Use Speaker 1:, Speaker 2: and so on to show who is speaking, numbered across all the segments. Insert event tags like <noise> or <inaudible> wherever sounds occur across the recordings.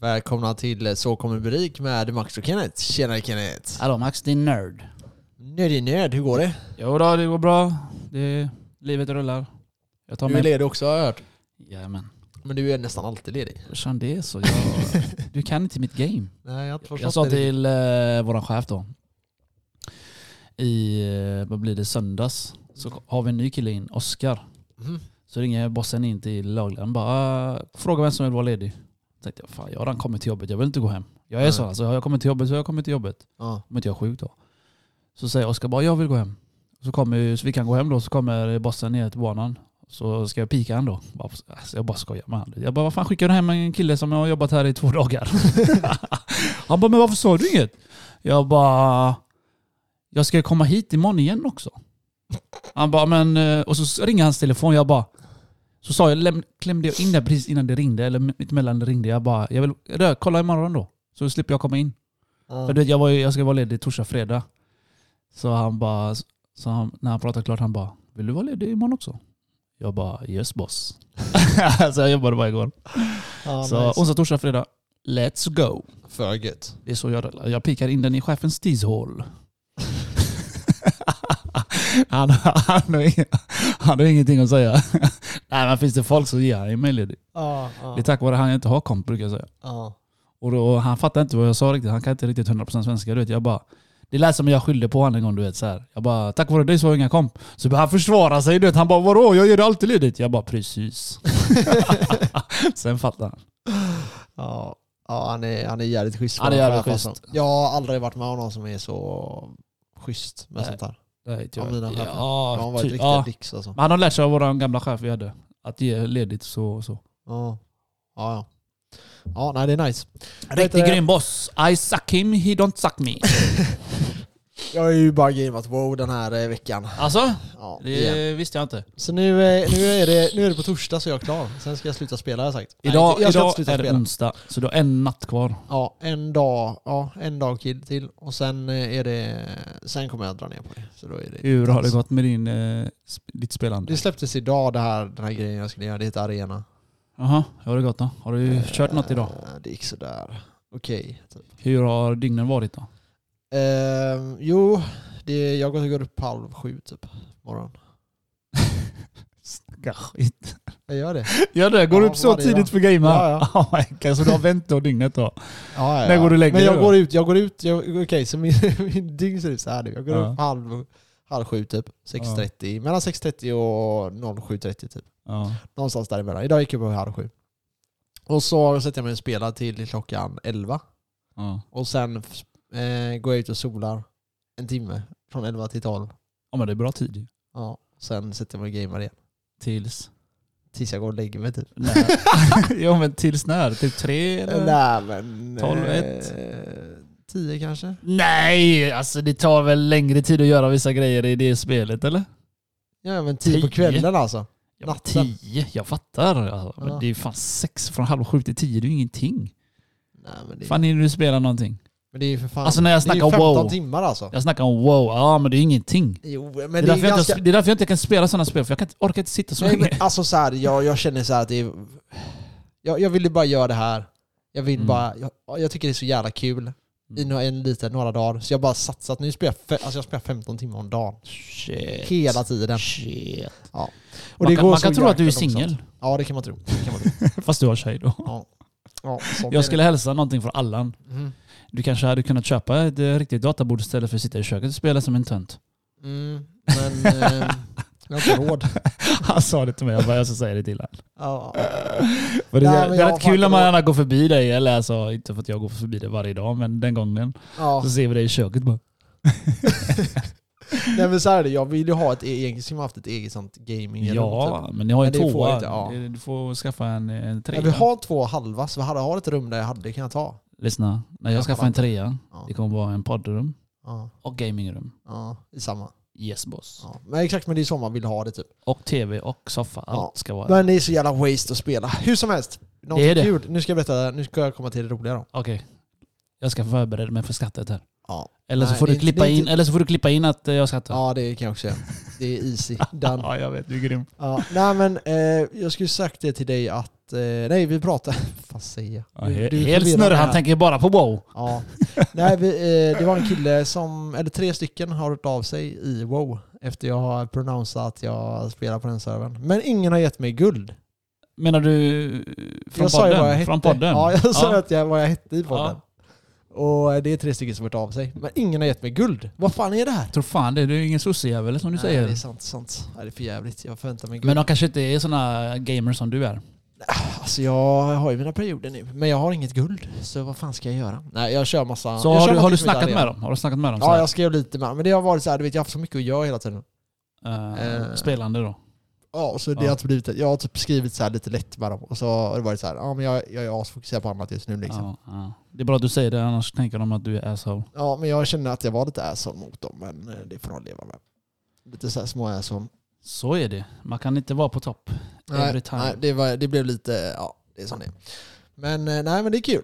Speaker 1: Välkomna till Så kommer bli rik med Max och Kenneth. Tjenare Kenneth!
Speaker 2: Hallå Max, din nörd.
Speaker 1: Nödig nörd, hur går det?
Speaker 2: Jo då, det går bra. Det, livet rullar. Jag tar
Speaker 1: Du är
Speaker 2: med...
Speaker 1: ledig också har jag hört.
Speaker 2: Jajamän.
Speaker 1: Men du är nästan alltid ledig.
Speaker 2: Eftersom det är så. Jag, du kan inte mitt
Speaker 1: <laughs>
Speaker 2: game.
Speaker 1: Nej, jag har inte förstått
Speaker 2: Jag sa
Speaker 1: det.
Speaker 2: till eh, våran chef då. I, eh, vad blir det, söndags. Så har vi en ny kille in, Oskar.
Speaker 1: Mhm.
Speaker 2: Så ringer bossen in till lagledaren bara "Ah, fråga vem som vill vara ledig. Jag tänkte jag, fan jag har redan kommit till jobbet, jag vill inte gå hem. Jag är
Speaker 1: Nej.
Speaker 2: så alltså, har jag kommit till jobbet så har jag kommit till jobbet.
Speaker 1: Ja.
Speaker 2: om inte jag är sjuk då. Så säger Oskar bara jag vill gå hem. Så, kommer, så vi kan gå hem då, så kommer bossen ner till banan. Så ska jag pika han då. Bara, Alltså jag bara skojar med honom. Jag bara, vad fan skickar du hem en kille som har jobbat här i två dagar? <laughs> han bara, men varför sa du inget? Jag bara, jag ska komma hit imorgon igen också. Han bara, men... eh, Och så ringer hans telefon. Jag bara... Så sa jag, läm, klämde jag in det precis innan det ringde, eller mitt emellan det ringde. Jag bara, jag vill rö- kolla imorgon då. Så slipper jag komma in.
Speaker 1: Ja.
Speaker 2: För du vet, jag, var, ju- jag ska vara ledig torsdag, fredag. Så han bara, så han, när han pratade klart, han bara Vill du vara ledig imorgon också? Jag bara yes boss. <laughs> så jag jobbade bara igår.
Speaker 1: Ja,
Speaker 2: så
Speaker 1: nice.
Speaker 2: onsdag, torsdag, fredag. Let's go.
Speaker 1: För gött.
Speaker 2: Det är så jag rullar. Jag pikar in den i
Speaker 1: <laughs>
Speaker 2: chefens tidshål. han, han, har ing, han har ingenting att säga. <laughs> Nej men finns det folk så ger han ju mig ledigt.
Speaker 1: Ja,
Speaker 2: Det är tack vare han jag inte har komp brukar jag säga.
Speaker 1: ja.
Speaker 2: Och då, han fattar inte vad jag sa riktigt. Han kan inte riktigt 100% svenska. Du vet, jag bara, det lät som jag skyllde på honom en gång. Du vet, så här. Jag bara, tack vare dig så har jag inga komp. Så började han försvara sig. Du vet, han bara, vadå? Jag ger dig alltid ledigt. Jag
Speaker 1: <laughs>
Speaker 2: bara, precis. Sen fattar han.
Speaker 1: Ja. Ja, han är, han är jävligt schysst.
Speaker 2: Han är jävligt
Speaker 1: chef, alltså.
Speaker 2: schysst.
Speaker 1: Jag har aldrig varit med om någon som är så schysst med
Speaker 2: Nej.
Speaker 1: sånt här.
Speaker 2: Nej,
Speaker 1: Ja, mina chefer.
Speaker 2: ja,
Speaker 1: Han har varit
Speaker 2: ty-
Speaker 1: riktigt
Speaker 2: ja.
Speaker 1: dix alltså.
Speaker 2: Men han har lärt sig av vår gamla chef vi hade. Att ge ledigt så och så.
Speaker 1: Ja. Ja, ja. Ja, nej det är nice. Vet
Speaker 2: Riktigt
Speaker 1: du-
Speaker 2: grym boss. I suck him, he don't suck me.
Speaker 1: Jag är ju bara gameat wow den här eh, veckan.
Speaker 2: Alltså,
Speaker 1: Ja, igen.
Speaker 2: det visste jag inte.
Speaker 1: Så nu, eh, nu, är det, nu är det på torsdag så jag är klar. Sen ska jag sluta spela har jag sagt.
Speaker 2: Idag,
Speaker 1: Nej, jag ska
Speaker 2: idag
Speaker 1: inte sluta
Speaker 2: är det mm.
Speaker 1: spela.
Speaker 2: onsdag, så du har en natt kvar.
Speaker 1: Ja, en dag, ja, en dag kid till. Och sen eh, är det, sen kommer jag dra ner på det. Så då är det
Speaker 2: Hur har det gått med din, eh, sp- ditt spelande?
Speaker 1: Det släpptes idag det här, den här grejen jag skulle göra. Det heter Arena.
Speaker 2: Jaha, hur har det gått då? Har du kört något idag?
Speaker 1: Eh, Det gick sådär. Okej. typ.
Speaker 2: Hur har dygnen varit då?
Speaker 1: Eh, jo, det, jag går och går upp halv sju typ. Morgon.
Speaker 2: Snacka skit.
Speaker 1: Jag gör det.
Speaker 2: Gör det? Går du
Speaker 1: Ja,
Speaker 2: upp så
Speaker 1: varje
Speaker 2: tidigt
Speaker 1: dag.
Speaker 2: för gaming?
Speaker 1: Ja,
Speaker 2: <laughs> Oh my God, så du har vänt då dygnet då?
Speaker 1: Ja, ja,
Speaker 2: När
Speaker 1: ja.
Speaker 2: går du och lägger
Speaker 1: Men jag
Speaker 2: dig då?
Speaker 1: går ut, jag går ut, jag- okej så min, <laughs> min dygn ser ut så här nu. Jag går
Speaker 2: Ja.
Speaker 1: upp halv, halv sju typ, 6.30, mellan 6.30 och 07.30 typ.
Speaker 2: Ja.
Speaker 1: Någonstans däremellan. Idag gick jag upp halv sju. Och så sätter jag mig och spelar till klockan 11.
Speaker 2: Ja.
Speaker 1: Och sen eh, går jag ut och solar en timme, från 11 till 12.
Speaker 2: ja men det är bra tid ju.
Speaker 1: Ja. Sen sätter jag mig och gamear igen.
Speaker 2: <laughs> Tills?
Speaker 1: Tills jag går och lägger mig
Speaker 2: <laughs>
Speaker 1: typ.
Speaker 2: När? jo men tills när? Till tre
Speaker 1: <laughs>
Speaker 2: eller?
Speaker 1: Nej men...
Speaker 2: 12, ett.
Speaker 1: eh, 10 kanske?
Speaker 2: Nej! Alltså det tar väl längre tid att göra vissa grejer i det spelet eller?
Speaker 1: Ja men 10 på
Speaker 2: Tio?
Speaker 1: kvällen alltså.
Speaker 2: Ja, men
Speaker 1: Natten.
Speaker 2: tio? Jag fattar. Alltså,
Speaker 1: Ja.
Speaker 2: men det är ju fan sex från halv sju till tio, det är ju ingenting.
Speaker 1: Nej, men, det,
Speaker 2: Fan hinner du spela någonting?
Speaker 1: men det är ju för fan...
Speaker 2: Alltså när jag
Speaker 1: Det är ju
Speaker 2: snackar
Speaker 1: 15
Speaker 2: wow.
Speaker 1: timmar alltså.
Speaker 2: Jag snackar om wow, ja men det är ju ingenting.
Speaker 1: Jo, men det,
Speaker 2: Det är,
Speaker 1: är
Speaker 2: därför jag
Speaker 1: ganska...
Speaker 2: inte, det är därför jag inte kan spela sådana spel, för jag kan inte, orkar inte sitta så
Speaker 1: Nej,
Speaker 2: länge.
Speaker 1: men, alltså så här, jag, jag känner så här att det är... Jag, jag vill ju bara göra det här. Jag vill
Speaker 2: Mm.
Speaker 1: bara... Jag, jag tycker det är så jävla kul. I
Speaker 2: Mm.
Speaker 1: några, en liten, några dagar. Så jag bara satsat. Nu spelar jag, fe, alltså jag spelar 15 timmar om dagen.
Speaker 2: Shit.
Speaker 1: Hela tiden.
Speaker 2: Shit.
Speaker 1: Och
Speaker 2: man
Speaker 1: det
Speaker 2: kan,
Speaker 1: går
Speaker 2: man
Speaker 1: så
Speaker 2: kan tro att du är
Speaker 1: jäkla långsamt.
Speaker 2: singel.
Speaker 1: Ja, det kan man tro. Det kan man tro.
Speaker 2: Fast du har tjej då.
Speaker 1: Ja, sånt är
Speaker 2: Jag skulle hälsa någonting från Allan.
Speaker 1: det. Mm.
Speaker 2: Du kanske hade kunnat köpa ett eh, riktigt databord istället för att sitta i köket och spela som en tönt. <laughs>
Speaker 1: Mm, men... eh, jag har inte råd.
Speaker 2: Han sa det till mig, jag bara jag ska säga det till
Speaker 1: <laughs>
Speaker 2: honom.
Speaker 1: Ja,
Speaker 2: Det,
Speaker 1: Nej,
Speaker 2: är-
Speaker 1: men
Speaker 2: det
Speaker 1: jag
Speaker 2: är
Speaker 1: har
Speaker 2: rätt kul när
Speaker 1: fan
Speaker 2: man
Speaker 1: inte
Speaker 2: gärna går förbi dig, eller alltså inte för att jag går förbi dig varje dag, men den gången.
Speaker 1: ja.
Speaker 2: Så ser vi dig i köket bara.
Speaker 1: Nej men så här är det, jag vill ju ha ett e- eget, skulle man haft ett eget sånt gaming
Speaker 2: Ja, men ni har ju en
Speaker 1: typ." Men det får
Speaker 2: tvåa.
Speaker 1: inte, ja.
Speaker 2: Det- Du får skaffa en, eh, en
Speaker 1: typ.
Speaker 2: trea.
Speaker 1: Jag vill ha två halva, så jag hade- har ett rum där jag hade kan jag ta.
Speaker 2: Lyssna, när jag
Speaker 1: Jag
Speaker 2: skaffar
Speaker 1: fattar.
Speaker 2: en trea,
Speaker 1: Ja.
Speaker 2: det kommer vara en poddrum
Speaker 1: Ja,
Speaker 2: och gamingrum.
Speaker 1: ja i samma.
Speaker 2: Yes boss.
Speaker 1: Ja. Men exakt, men det är så man vill ha det typ.
Speaker 2: Och tv och soffa. Allt ska vara...
Speaker 1: Men det är så jävla waste att spela. Hur som helst. Något
Speaker 2: Det är det.
Speaker 1: kul. Nu ska jag berätta, nu ska jag komma till det roliga då.
Speaker 2: Okej. Jag ska förbereda mig för skattet här.
Speaker 1: Ja,
Speaker 2: Eller så
Speaker 1: Nej,
Speaker 2: får
Speaker 1: det är
Speaker 2: du
Speaker 1: inte-
Speaker 2: klippa
Speaker 1: det är
Speaker 2: in,
Speaker 1: inte-
Speaker 2: eller så får du klippa in att eh, jag skattar.
Speaker 1: ja det kan jag också säga. Det är
Speaker 2: <laughs>
Speaker 1: easy. Done.
Speaker 2: Ja, jag vet. Du är grym.
Speaker 1: Ja, nej men eh, jag skulle sagt det till dig att, eh, nej vi pratar, <laughs> fan säger jag? Du- du
Speaker 2: Helt
Speaker 1: förvirrar
Speaker 2: snurrig.
Speaker 1: mig
Speaker 2: Han
Speaker 1: här.
Speaker 2: tänker bara på wow.
Speaker 1: Ja. Nej, vi, eh, det var en kille som, eller tre stycken har hört av sig i WoW efter jag har pronounsat att jag spelar på den servern. Men ingen har gett mig guld.
Speaker 2: Menar du eh, från
Speaker 1: jag sa ju vad jag
Speaker 2: podden?
Speaker 1: hette.
Speaker 2: Från podden?
Speaker 1: Ja, jag sa
Speaker 2: Ja.
Speaker 1: att jag, vad jag hette i
Speaker 2: Ja.
Speaker 1: podden. Och eh, det är tre stycken som har hört av sig. Men ingen har gett mig guld. Vad fan är det här?
Speaker 2: Jag tror fan det. Du är ingen sossejävel som du
Speaker 1: Nej,
Speaker 2: säger.
Speaker 1: det är sant, sant. Nej, det är för jävligt. Jag förväntar mig guld.
Speaker 2: Men de kanske inte är såna gamers som du är.
Speaker 1: Alltså jag har ju mina perioder nu, men jag har inget guld. Så vad fan ska jag göra? Nej, jag kör massa...
Speaker 2: Så
Speaker 1: jag typ
Speaker 2: har
Speaker 1: kör
Speaker 2: du, har du
Speaker 1: mycket på
Speaker 2: snackat
Speaker 1: gitarr
Speaker 2: med dem? Har du snackat med dem? så
Speaker 1: Ja,
Speaker 2: här?
Speaker 1: jag skrev lite med dem. Men det har varit så här, du vet jag har haft så mycket att göra hela tiden.
Speaker 2: Eh,
Speaker 1: Eh.
Speaker 2: Spelande då?
Speaker 1: Ja, så det
Speaker 2: Ja.
Speaker 1: har typ blivit, jag har typ skrivit så här lite lätt med dem. Och så har det varit så här, ja men jag, jag är asfokuserad på annat just nu liksom. Ja.
Speaker 2: Ja, ja. Det är bra att du säger det, annars tänker de att du är asshole.
Speaker 1: men jag känner att jag var lite asshole mot dem, men eh, det får de leva med. Lite så här små asshole.
Speaker 2: Så är det. Man kan inte vara på topp. Every
Speaker 1: Nej,
Speaker 2: time.
Speaker 1: nej det, var, det blev lite, ja det är som det är. Men eh, nej men det är kul.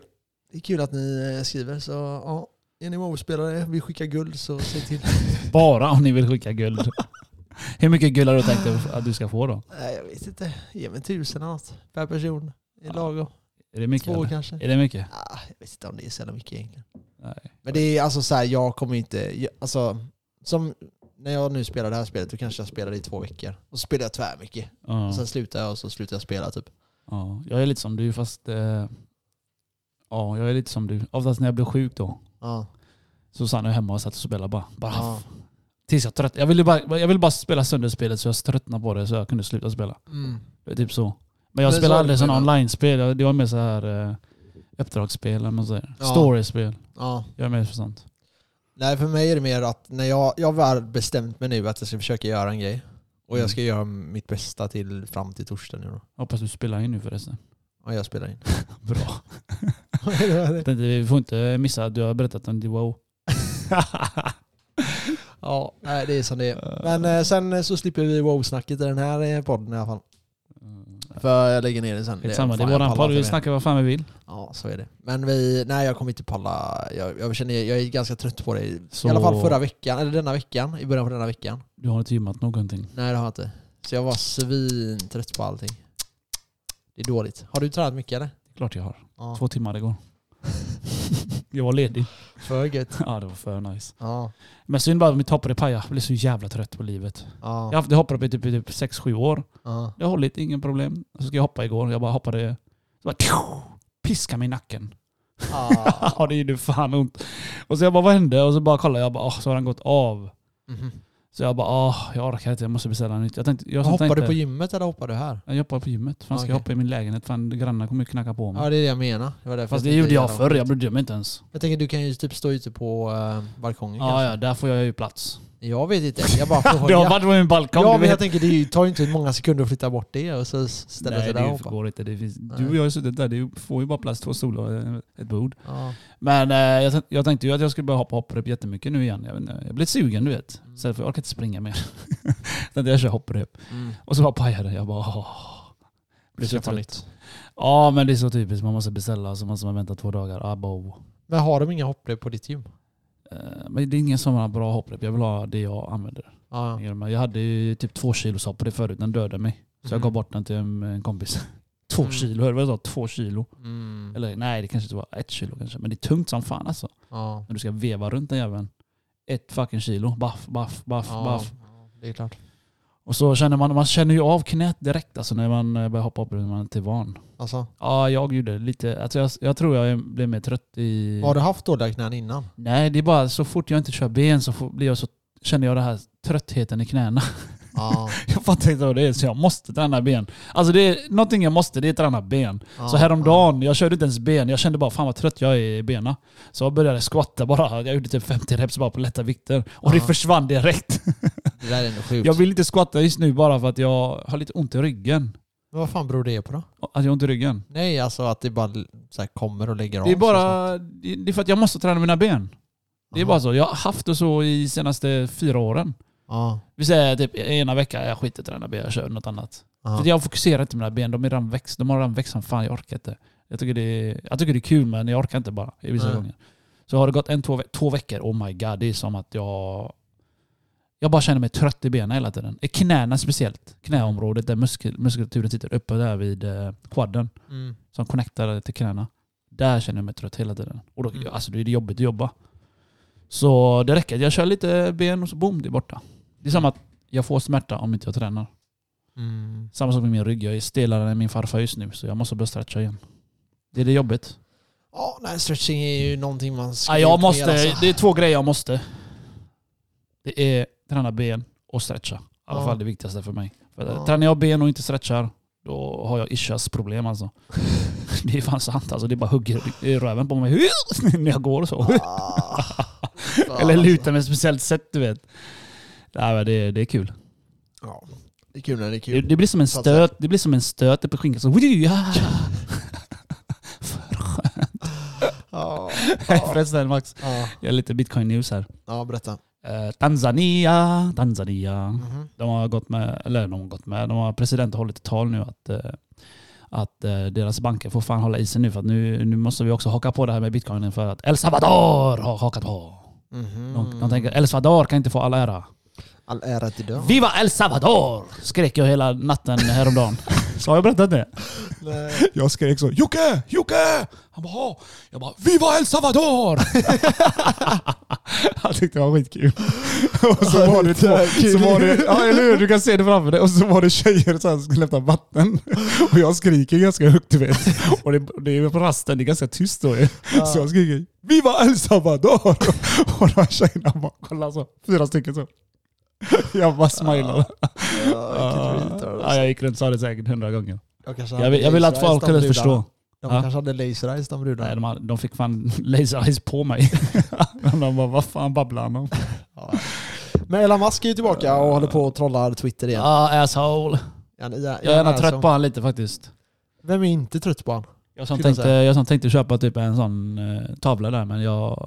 Speaker 1: Det är kul att ni eh, skriver, så ja. Är ni WoW-spelare, vi skickar guld så se
Speaker 2: <laughs>
Speaker 1: till.
Speaker 2: Bara om ni vill skicka guld. <laughs> Hur mycket guld har du tänkt att du ska få då?
Speaker 1: Nej, jag vet inte. Ge mig tusen eller något per person. Det
Speaker 2: Ja,
Speaker 1: är lagom.
Speaker 2: Är det mycket?
Speaker 1: Två
Speaker 2: Eller?
Speaker 1: kanske.
Speaker 2: Är det mycket?
Speaker 1: Ah, jag vet inte om det är så jävla mycket egentligen.
Speaker 2: Nej.
Speaker 1: Men det är alltså så här, jag kommer inte... Jag, alltså, som när jag nu spelar det här spelet, då kanske jag spelar det i två veckor. Och så spelar jag tvärmycket.
Speaker 2: Ja.
Speaker 1: Sen slutar jag och så slutar jag spela typ.
Speaker 2: Ja. Jag är lite som du fast... Eh, ja, jag är lite som du. Oftast när jag blir sjuk då.
Speaker 1: Ja.
Speaker 2: Så satt jag hemma och satt och spelade bara. bara
Speaker 1: Ja.
Speaker 2: Tills jag trött. Jag ville bara, jag ville bara spela sönder spelet så jag tröttnade på det så jag kunde sluta spela.
Speaker 1: Mm.
Speaker 2: Det är Typ så. Men jag
Speaker 1: Men så
Speaker 2: spelade
Speaker 1: har
Speaker 2: aldrig
Speaker 1: du
Speaker 2: sådana
Speaker 1: spelat-
Speaker 2: online-spel. Jag- Det var mer så här eh, uppdragsspel eller vad man säger.
Speaker 1: Ja.
Speaker 2: Storyspel.
Speaker 1: ja.
Speaker 2: Jag är mer för sånt.
Speaker 1: Nej, för mig är det mer att när jag, jag har väl bestämt mig nu att jag ska försöka göra en grej. Och
Speaker 2: Mm.
Speaker 1: jag ska göra mitt bästa till fram till torsdag nu då.
Speaker 2: Hoppas du spelar in nu förresten.
Speaker 1: Och jag spelar in.
Speaker 2: Bra. Jag tänkte, Vi får inte missa att du har berättat om DWO.
Speaker 1: ja, nej, det är som det är. Men eh, sen eh, så slipper vi wow-snacket i den här eh, podden i alla fall. För jag lägger ner det sen.
Speaker 2: Skitsamma, det är
Speaker 1: fan, jag
Speaker 2: våran
Speaker 1: pallar
Speaker 2: podd.
Speaker 1: inte
Speaker 2: Vi
Speaker 1: mer.
Speaker 2: snackar vad fan vi vill.
Speaker 1: Ja, så är det. Men vi, nej jag kommer inte palla. Jag, jag känner, jag är ganska trött på det.
Speaker 2: Så-
Speaker 1: I alla fall förra veckan, eller denna veckan, i början på denna veckan.
Speaker 2: Du har inte gymmat någonting.
Speaker 1: Nej det har jag inte. Så jag var svintrött på allting. Det är dåligt. Har du tränat mycket eller?
Speaker 2: Klart jag har.
Speaker 1: Ja.
Speaker 2: Två timmar igår. <laughs> jag var ledig.
Speaker 1: För gött.
Speaker 2: ja, det var för nice.
Speaker 1: Ja.
Speaker 2: Men synd bara att mitt hopprep pajade. Jag blev så jävla trött på livet. Jag har
Speaker 1: Ja.
Speaker 2: haft det hopprep i typ, i typ 6-7 år.
Speaker 1: ja.
Speaker 2: Det har hållit, ingen problem. Så ska jag hoppa igår. Jag bara hoppade... Så bara, tju, piska mig i nacken. <laughs>
Speaker 1: ja.
Speaker 2: Ja, det gjorde fan ont. Och så jag bara, vad hände? Och så bara kollade jag. Jag bara, "Åh, så har den gått av.
Speaker 1: Mhm.
Speaker 2: Så jag bara, ah, jag orkar inte, jag måste beställa nytt. Jag tänkte, jag
Speaker 1: Hoppar
Speaker 2: tänkte,
Speaker 1: du på gymmet eller hoppar du här?
Speaker 2: Jag hoppar på gymmet. Fan ska jag
Speaker 1: Okej.
Speaker 2: hoppa i min lägenhet? Fan grannar kommer ju knacka på mig.
Speaker 1: Ja det är det jag menar. Det var därför
Speaker 2: Fast det
Speaker 1: tänkte
Speaker 2: gjorde jag
Speaker 1: göra
Speaker 2: förr,
Speaker 1: något.
Speaker 2: jag brydde mig inte ens.
Speaker 1: Jag tänker du kan ju typ stå ute på eh, balkongen
Speaker 2: Ja, ja, där får jag
Speaker 1: <laughs>
Speaker 2: ju plats.
Speaker 1: kanske. Jag vet inte, jag
Speaker 2: <laughs>
Speaker 1: bara frågar.
Speaker 2: Det har varit på min balkong,
Speaker 1: ja
Speaker 2: du
Speaker 1: men jag
Speaker 2: vet.
Speaker 1: tänker det är ju- tar ju inte många sekunder att flytta bort det och så ställa
Speaker 2: Nej,
Speaker 1: sig där och
Speaker 2: det
Speaker 1: hoppa.
Speaker 2: går inte. Det finns, du
Speaker 1: Nej.
Speaker 2: och jag har suttit där, det får ju bara plats två stolar och eh, ett bord.
Speaker 1: Ja.
Speaker 2: Men eh, jag, tänk- jag tänkte ju att jag skulle börja hoppa hopprep jättemycket nu igen. Jag, vet inte, jag blev sugen du vet. Så för jag orkar inte springa mer. <laughs> jag tänkte jag kör hopprep.
Speaker 1: Mm.
Speaker 2: Och så bara pajade jag. bara åh. Blev så
Speaker 1: Skaffa
Speaker 2: trött.
Speaker 1: nytt.
Speaker 2: Ja men det är så typiskt, man måste beställa och så måste man vänta två dagar. Ah, bo.
Speaker 1: Men har de inga hopprep på ditt gym?
Speaker 2: Eh, Men det är ingen som har bra hopprep. Jag vill ha det jag använder.
Speaker 1: Ja. Mm.
Speaker 2: Jag hade ju typ två kilos hopprep förut. Den dödade mig. Så jag
Speaker 1: Mhm.
Speaker 2: gav bort den till en en kompis. <laughs> Två
Speaker 1: Mm.
Speaker 2: kilo, hörde du vad jag sa? Två kilo.
Speaker 1: Mm.
Speaker 2: Eller nej, det kanske inte var ett kilo kanske. Men det är tungt som fan alltså.
Speaker 1: Ja.
Speaker 2: När du ska veva runt den jäveln. Ett fucking kilo. Baff, baff, baff,
Speaker 1: Ja.
Speaker 2: baff.
Speaker 1: ja, det är klart.
Speaker 2: Och så känner man, man känner ju av knät direkt alltså när man eh, börjar hoppa upp. Man är inte van.
Speaker 1: Alltså,
Speaker 2: Ja, jag gjorde det lite. Alltså jag, jag tror jag blev mer trött i...
Speaker 1: har du haft dåliga knän innan?
Speaker 2: Nej, det är bara så fort jag inte kör ben så får- blir jag så, känner jag den här tröttheten i knäna. <laughs>
Speaker 1: Ja.
Speaker 2: Jag fattar inte vad det är, så jag måste träna ben. Alltså det är någonting jag måste, det är träna ben.
Speaker 1: ja.
Speaker 2: Så häromdagen, jag körde inte ens ben. Jag kände bara fan vad trött jag är i benen. Så jag började squatta bara. Jag gjorde typ 50 reps bara på lätta vikter. Och det
Speaker 1: Ja. <laughs>
Speaker 2: försvann direkt.
Speaker 1: Det där är ändå sjukt.
Speaker 2: Jag vill inte squatta just nu bara för att jag har lite ont i ryggen.
Speaker 1: Men vad fan beror det på då?
Speaker 2: Att jag har ont i ryggen.
Speaker 1: Nej, alltså att det bara så här kommer och lägger av.
Speaker 2: Det är
Speaker 1: så
Speaker 2: bara, det det är för att jag måste träna mina ben. Det är
Speaker 1: Aha.
Speaker 2: bara så. Jag har haft det så i senaste fyra åren.
Speaker 1: Ja.
Speaker 2: Vi säger typ ena veckan, jag skiter i träna ben, jag kör något annat.
Speaker 1: Ja.
Speaker 2: För jag fokuserar inte på mina ben, de, är redan växt, de har redan växt som fan, jag orkar inte. Jag tycker det är, jag tycker det är kul men jag orkar inte bara i vissa
Speaker 1: Nej.
Speaker 2: gånger. Så har det gått en, två, ve- två veckor, oh my god, det är som att jag Jag bara känner mig trött i benen hela tiden. I knäna speciellt. Knäområdet där muskel, muskulaturen sitter uppe där vid eh, quaden
Speaker 1: Mm.
Speaker 2: som connectar till knäna. Där känner jag mig trött hela tiden. Och då,
Speaker 1: Mm.
Speaker 2: alltså, då är det jobbigt att jobba. Så det räcker. Jag kör lite ben och så boom, det är borta. Det är som att jag får smärta om inte jag tränar.
Speaker 1: Mm.
Speaker 2: Samma sak med min rygg. Jag är stelare än min farfar just nu så jag måste börja stretcha igen. Det är det jobbigt.
Speaker 1: Ja, nej, stretching är ju någonting man ska
Speaker 2: Ja, jag
Speaker 1: ut med,
Speaker 2: måste,
Speaker 1: alltså.
Speaker 2: Det är två grejer jag måste. Det är träna ben och stretcha. I alla
Speaker 1: Ja.
Speaker 2: fall det viktigaste för mig. För
Speaker 1: Ja.
Speaker 2: Tränar jag ben och inte stretchar, då har jag ischias problem alltså. <laughs> Det är fan sant alltså. Det bara hugger i röven på mig <laughs> när jag går och så.
Speaker 1: Ah. Fan,
Speaker 2: <laughs> <laughs> Eller
Speaker 1: alltså.
Speaker 2: lutar mig ett speciellt sätt du vet. Nej, men det, det är kul.
Speaker 1: Ja, det är kul när det är
Speaker 2: Det,
Speaker 1: kul.
Speaker 2: det blir som en
Speaker 1: Så att säga.
Speaker 2: stöt. Det blir som en stöt på skinkan. Så, <laughs> ja.
Speaker 1: Ja,
Speaker 2: Förresten Max,
Speaker 1: ja,
Speaker 2: jag har lite bitcoin news här.
Speaker 1: ja berätta.
Speaker 2: Eh, Tanzania, Tanzania.
Speaker 1: Mhm.
Speaker 2: De har gått med, eller de har gått med, de har presidenten hållit ett tal nu att, eh, att eh, deras banker får fan hålla i sig nu för att nu, nu måste vi också haka på det här med bitcoinen för att El Salvador har hakat på.
Speaker 1: Mhm.
Speaker 2: De, de tänker El Salvador kan inte få all ära.
Speaker 1: All ära till dem.
Speaker 2: Viva El Salvador! Skrek jag hela natten <laughs> häromdagen. Så har jag berättat det?
Speaker 1: Nej.
Speaker 2: Jag skrek så Jocke! Jocke! Han bara "Ja." Jag bara Viva El Salvador! <laughs> Han tyckte det var skitkul. Och så var det två, så var det, ja eller hur? Du kan se det framför dig. Och så var det tjejer som skulle hämta vatten. Och jag skriker ganska högt du vet. Och det, det är på rasten, det är ganska tyst då ju. Så jag skriker Viva El Salvador! Och de här tjejerna bara kollar så, fyra stycken så. Jag bara smilade.
Speaker 1: Ja, vilket retard,
Speaker 2: Ja,
Speaker 1: alltså.
Speaker 2: jag gick runt och sa det säkert hundra gånger.
Speaker 1: Jag kanske
Speaker 2: Jag
Speaker 1: hade
Speaker 2: vill, jag vill att
Speaker 1: laser eyes,
Speaker 2: folk
Speaker 1: de
Speaker 2: kunde
Speaker 1: brudarna.
Speaker 2: förstå.
Speaker 1: De
Speaker 2: Ja.
Speaker 1: kanske hade laser eyes de
Speaker 2: Nej,
Speaker 1: brudarna.
Speaker 2: de, hade- de fick fan <laughs> laser eyes på mig. <laughs> de bara, vad fan babblar han om?
Speaker 1: Ja. Men Elon Musk är ju tillbaka och håller på och trollar Twitter igen.
Speaker 2: Ah, asshole.
Speaker 1: Jag, jag,
Speaker 2: Jag är gärna trött
Speaker 1: alltså.
Speaker 2: på han lite faktiskt.
Speaker 1: Vem är inte trött på han?
Speaker 2: Jag som,
Speaker 1: Skulle jag
Speaker 2: tänkte, jag som tänkte köpa typ en sån eh, tavla där, men jag...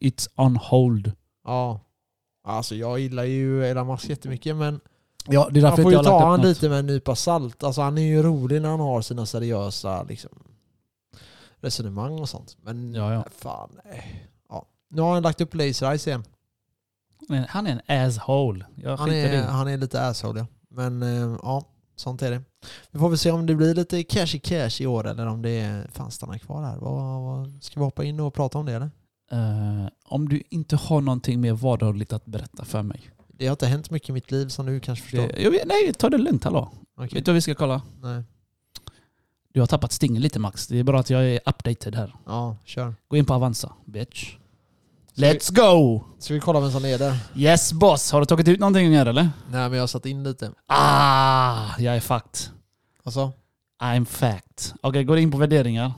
Speaker 2: It's on hold.
Speaker 1: Ja. Alltså jag gillar ju Elon Musk jättemycket men
Speaker 2: Ja, det är
Speaker 1: man får ju ta han
Speaker 2: något.
Speaker 1: lite med en nypa salt. Alltså han är ju rolig när han har sina seriösa liksom, resonemang och sånt. Men
Speaker 2: Ja, ja.
Speaker 1: fan nej. Ja. Nu har han lagt upp laser eyes igen.
Speaker 2: Men han är en asshole. Jag
Speaker 1: Han
Speaker 2: skiter i
Speaker 1: är,
Speaker 2: det.
Speaker 1: han är lite asshole ja. Men eh, ja, sånt är det. Vi får väl se om det blir lite cash i cash i år eller om det är, fan stannar kvar här. Vad, vad, ska vi hoppa in och prata om det eller?
Speaker 2: Eh, om du inte har någonting mer vardagligt att berätta för mig.
Speaker 1: Det har inte hänt mycket i mitt liv som du kanske förstår.
Speaker 2: Det, jag, vet- nej, ta det lugnt. Hallå.
Speaker 1: Okej.
Speaker 2: Vet du vad vi ska kolla?
Speaker 1: Nej.
Speaker 2: Du har tappat stingen lite Max. Det är bra att jag är updated här.
Speaker 1: Ja, kör.
Speaker 2: Gå in på Avanza, bitch. Let's go!
Speaker 1: Ska vi kolla vem som leder?
Speaker 2: Yes boss, har du tagit ut någonting här eller?
Speaker 1: Nej men jag har satt in lite.
Speaker 2: Ah, jag är fucked.
Speaker 1: Alltså,
Speaker 2: I'm fact. Okej, går in på värderingar.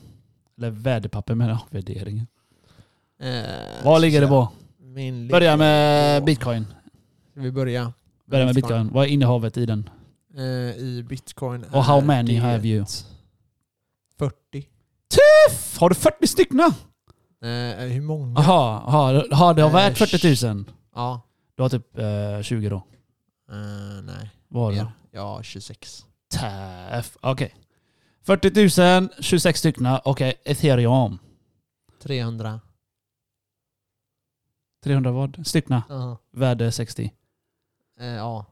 Speaker 2: Eller värdepapper menar jag. Värderingar.
Speaker 1: eh,
Speaker 2: Vad ligger det på?
Speaker 1: Min
Speaker 2: Börja med bitcoin.
Speaker 1: Ska vi börja?
Speaker 2: Börja med bitcoin. Vad är innehavet i den?
Speaker 1: Eh, I bitcoin.
Speaker 2: Och how
Speaker 1: är
Speaker 2: many
Speaker 1: det
Speaker 2: have you?
Speaker 1: 40.
Speaker 2: F, Har du 40 stycken?
Speaker 1: Eh, hur många?
Speaker 2: Aha, aha, aha, det har värt
Speaker 1: Äsch.
Speaker 2: 40 000.
Speaker 1: Ja.
Speaker 2: Du har typ eh, 20 då.
Speaker 1: Eh, nej.
Speaker 2: Vad har du?
Speaker 1: Mer. Ja, 26.
Speaker 2: Taff. Okej. 40 000, 26 stycken. Okej, ethereum.
Speaker 1: 300.
Speaker 2: 300 vad? Stycken.
Speaker 1: Ja.
Speaker 2: Värde 60.
Speaker 1: Eh, ja.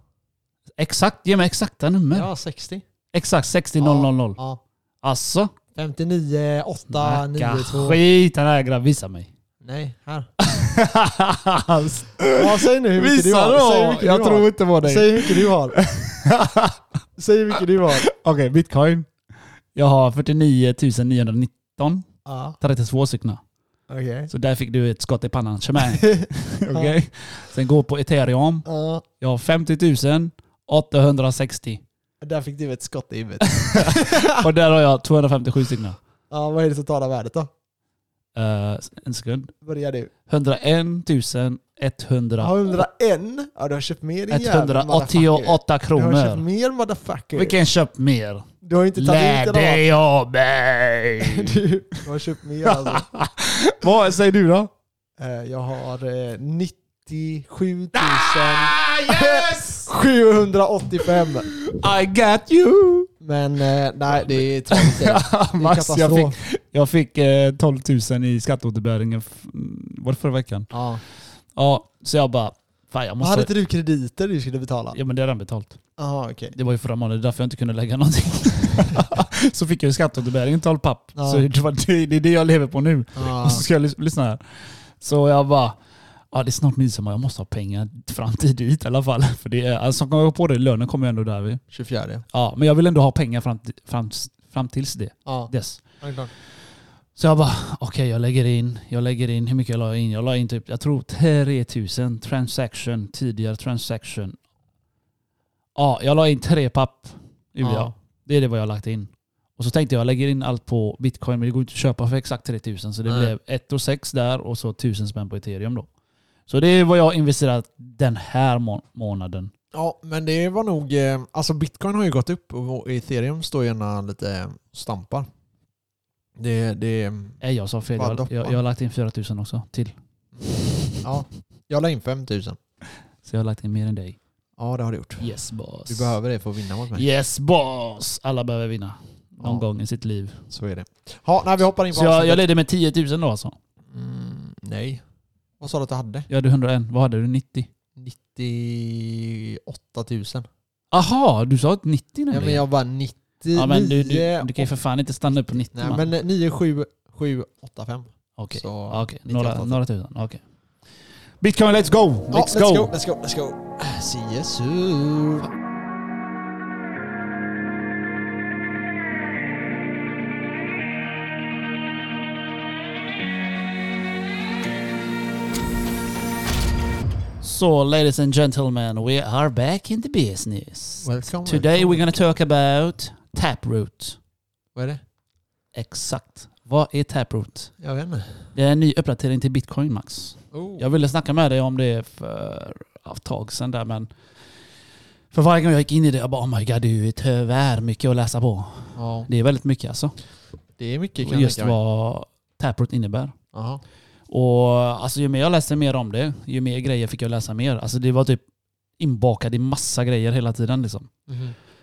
Speaker 2: Exakt, ge mig exakta nummer.
Speaker 1: ja, 60.
Speaker 2: Exakt, 60 000.
Speaker 1: Ja.
Speaker 2: Alltså?
Speaker 1: 59, 8, 9,
Speaker 2: Snacka
Speaker 1: 2.
Speaker 2: skit den här grabben, visa mig.
Speaker 1: Nej, här.
Speaker 2: <laughs> Alltså,
Speaker 1: Ja, säg nu hur mycket du
Speaker 2: visa
Speaker 1: har. Säg hur
Speaker 2: då!
Speaker 1: mycket
Speaker 2: Jag
Speaker 1: du
Speaker 2: tror
Speaker 1: har.
Speaker 2: inte på dig.
Speaker 1: Säg hur mycket du har. Säg hur mycket du har.
Speaker 2: Okej, bitcoin. Jag har 49 919,
Speaker 1: Ja,
Speaker 2: 32 stycken.
Speaker 1: okej.
Speaker 2: Så där fick du ett skott i pannan. Kör med. <laughs> Okej. Sen går på ethereum.
Speaker 1: <laughs> Ja,
Speaker 2: Jag har 50 860.
Speaker 1: där fick du ett skott i huvudet. <laughs>
Speaker 2: Och där har jag 257 stycken.
Speaker 1: Ja, vad är det totala värdet då?
Speaker 2: Eh, en sekund.
Speaker 1: Börjar du.
Speaker 2: 101 100.
Speaker 1: 101? Ja, du har köpt mer din jävel, motherfucker.
Speaker 2: 188
Speaker 1: Du har köpt
Speaker 2: kronor.
Speaker 1: mer motherfucker.
Speaker 2: Vilken köp mer?
Speaker 1: Du har inte tagit
Speaker 2: Lär
Speaker 1: ut den
Speaker 2: dig av mig!
Speaker 1: <laughs> Du du har köpt mer alltså.
Speaker 2: <laughs> Vad säger du då?
Speaker 1: Eh, Jag har eh, 97
Speaker 2: Ah, yes!
Speaker 1: 785.
Speaker 2: I got you!
Speaker 1: Men eh, nej, det är tragiskt. Det är
Speaker 2: <laughs> Max, jag
Speaker 1: katastrof.
Speaker 2: fick, jag fick eh, 12 000 i skatteåterbäringen. f- Var det förra veckan?
Speaker 1: Ja.
Speaker 2: Ja, så jag bara Fan jag
Speaker 1: Hade
Speaker 2: måste...
Speaker 1: inte du krediter du skulle betala?
Speaker 2: Ja men det är redan betalt.
Speaker 1: Jaha, okej.
Speaker 2: Det var ju förra månaden, därför jag inte kunde lägga någonting.
Speaker 1: <laughs>
Speaker 2: <laughs> så fick jag ju skatteåterbäring 12 papp.
Speaker 1: Ja.
Speaker 2: Så det, var det, det är det jag lever på nu.
Speaker 1: Ah,
Speaker 2: Och så ska jag lys- lyssna här. Så jag bara, ja det är snart midsommar, jag måste ha pengar fram till dit i alla fall. <laughs> För det är, alltså kommer jag på det, lönen kommer ju ändå där vid.
Speaker 1: 24.
Speaker 2: Ja, men jag vill ändå ha pengar fram, till- fram, fram tills det.
Speaker 1: Ja,
Speaker 2: Dess.
Speaker 1: ja, klart.
Speaker 2: Så jag bara, okej jag lägger in, jag lägger in, hur mycket jag la in? Jag la in typ, jag tror 3000 transaction, tidigare transaction. Ja, jag la in tre papp. gjorde
Speaker 1: Ja.
Speaker 2: jag. Det är det vad jag har lagt in. Och så tänkte jag, jag lägger in allt på bitcoin, men det går inte att köpa för exakt 3000. Så det
Speaker 1: Nej.
Speaker 2: blev 1 och 6 där och så 1000 spänn på ethereum då. Så det är vad jag har investerat den här må- månaden.
Speaker 1: Ja, men det var nog... eh, Alltså bitcoin har ju gått upp och ethereum står gärna lite eh, stampar. Det, det...
Speaker 2: Nej, jag sa fel.
Speaker 1: Vad
Speaker 2: Jag,
Speaker 1: doppar?
Speaker 2: jag, jag har lagt in 4000 också till.
Speaker 1: Ja, jag la in 5000.
Speaker 2: Så jag har lagt in mer än dig.
Speaker 1: Ja, det har du gjort.
Speaker 2: Yes boss.
Speaker 1: Du behöver det för att vinna mot mig.
Speaker 2: Yes boss! Alla behöver vinna. Någon
Speaker 1: Ja.
Speaker 2: gång i sitt liv.
Speaker 1: Så är det. Ja, nej, vi hoppar in på
Speaker 2: Så jag, jag
Speaker 1: avsnittet.
Speaker 2: ledde med 10 000 då alltså.
Speaker 1: mm, Nej. Vad sa du att du hade?
Speaker 2: Jag hade 101. Vad hade du? 90?
Speaker 1: 98 000.
Speaker 2: Aha, du sa ett 90
Speaker 1: Ja, men
Speaker 2: nämligen.
Speaker 1: jag var 90...
Speaker 2: Ja, men du, du, du kan ju för fan inte stanna upp på 90
Speaker 1: Nej,
Speaker 2: man.
Speaker 1: men 9, 7, 7, 8, 5.
Speaker 2: Okej,
Speaker 1: Så,
Speaker 2: Ja, okej.
Speaker 1: 98
Speaker 2: några,
Speaker 1: 000.
Speaker 2: några tusen. Okej. Bitcoin, let's go!
Speaker 1: Ja,
Speaker 2: Let's,
Speaker 1: let's
Speaker 2: go.
Speaker 1: go, let's go, let's go. See you soon.
Speaker 2: So ladies and gentlemen, we are back in the business.
Speaker 1: Welcome.
Speaker 2: Today
Speaker 1: welcome.
Speaker 2: we're gonna talk about Taproot.
Speaker 1: Vad är det?
Speaker 2: Exakt. Vad är Taproot?
Speaker 1: Jag vet inte.
Speaker 2: Det är en ny uppdatering till Bitcoin Max.
Speaker 1: Oh.
Speaker 2: Jag ville snacka med dig om det för ja, ett tag sedan där men för varje gång jag gick in i det, jag bara oh my god det är ju tyvärr mycket att läsa på.
Speaker 1: Ja,
Speaker 2: Det är väldigt mycket alltså.
Speaker 1: det är mycket kan jag
Speaker 2: Just
Speaker 1: tänka mig.
Speaker 2: vad Taproot innebär.
Speaker 1: Jaha.
Speaker 2: Och alltså ju mer jag läste mer om det, ju mer grejer fick jag läsa mer. Alltså det var typ inbakad i massa grejer hela tiden liksom.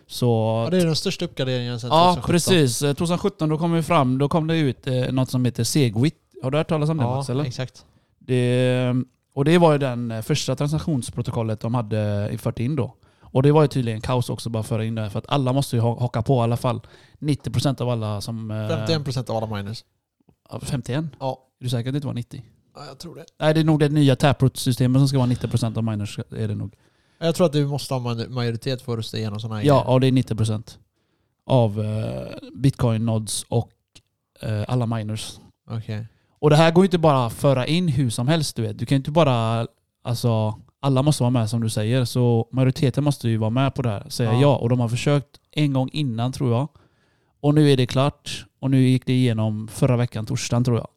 Speaker 2: Så...
Speaker 1: Ja, det är den största uppgraderingen sedan
Speaker 2: Ja,
Speaker 1: 2017.
Speaker 2: precis. Eh, 2017 då kom vi fram, då kom det ut eh, något som heter Segwit. Har du hört talas om det Max?
Speaker 1: Ja,
Speaker 2: Eller?
Speaker 1: exakt.
Speaker 2: Det, och det var ju den eh, första transaktionsprotokollet de hade eh, fört in då. Och det var ju tydligen kaos också bara att föra in det här, för att alla måste ju ha- haka på i alla fall. 90% av alla som... eh,
Speaker 1: 51% av alla miners.
Speaker 2: ja, 51?
Speaker 1: Ja.
Speaker 2: Är du säker att det inte var 90?
Speaker 1: Ja, jag tror det.
Speaker 2: Nej, det är nog det nya Taproot-systemet som ska vara 90% av miners. Är det nog.
Speaker 1: Jag tror att du måste ha ma- majoritet för att rösta igenom sådana här
Speaker 2: Ja,
Speaker 1: grejer.
Speaker 2: ja, det är 90% av eh, bitcoin-nods och eh, alla miners.
Speaker 1: Okej.
Speaker 2: Och det här går ju inte bara att föra in hur som helst. Du vet. Du kan ju inte bara... Alltså, alla måste vara med som du säger. Så majoriteten måste ju vara med på det här. Säga
Speaker 1: Ja.
Speaker 2: ja. Och de har försökt en gång innan tror jag. Och nu är det klart. Och nu gick det igenom förra veckan, torsdagen tror jag.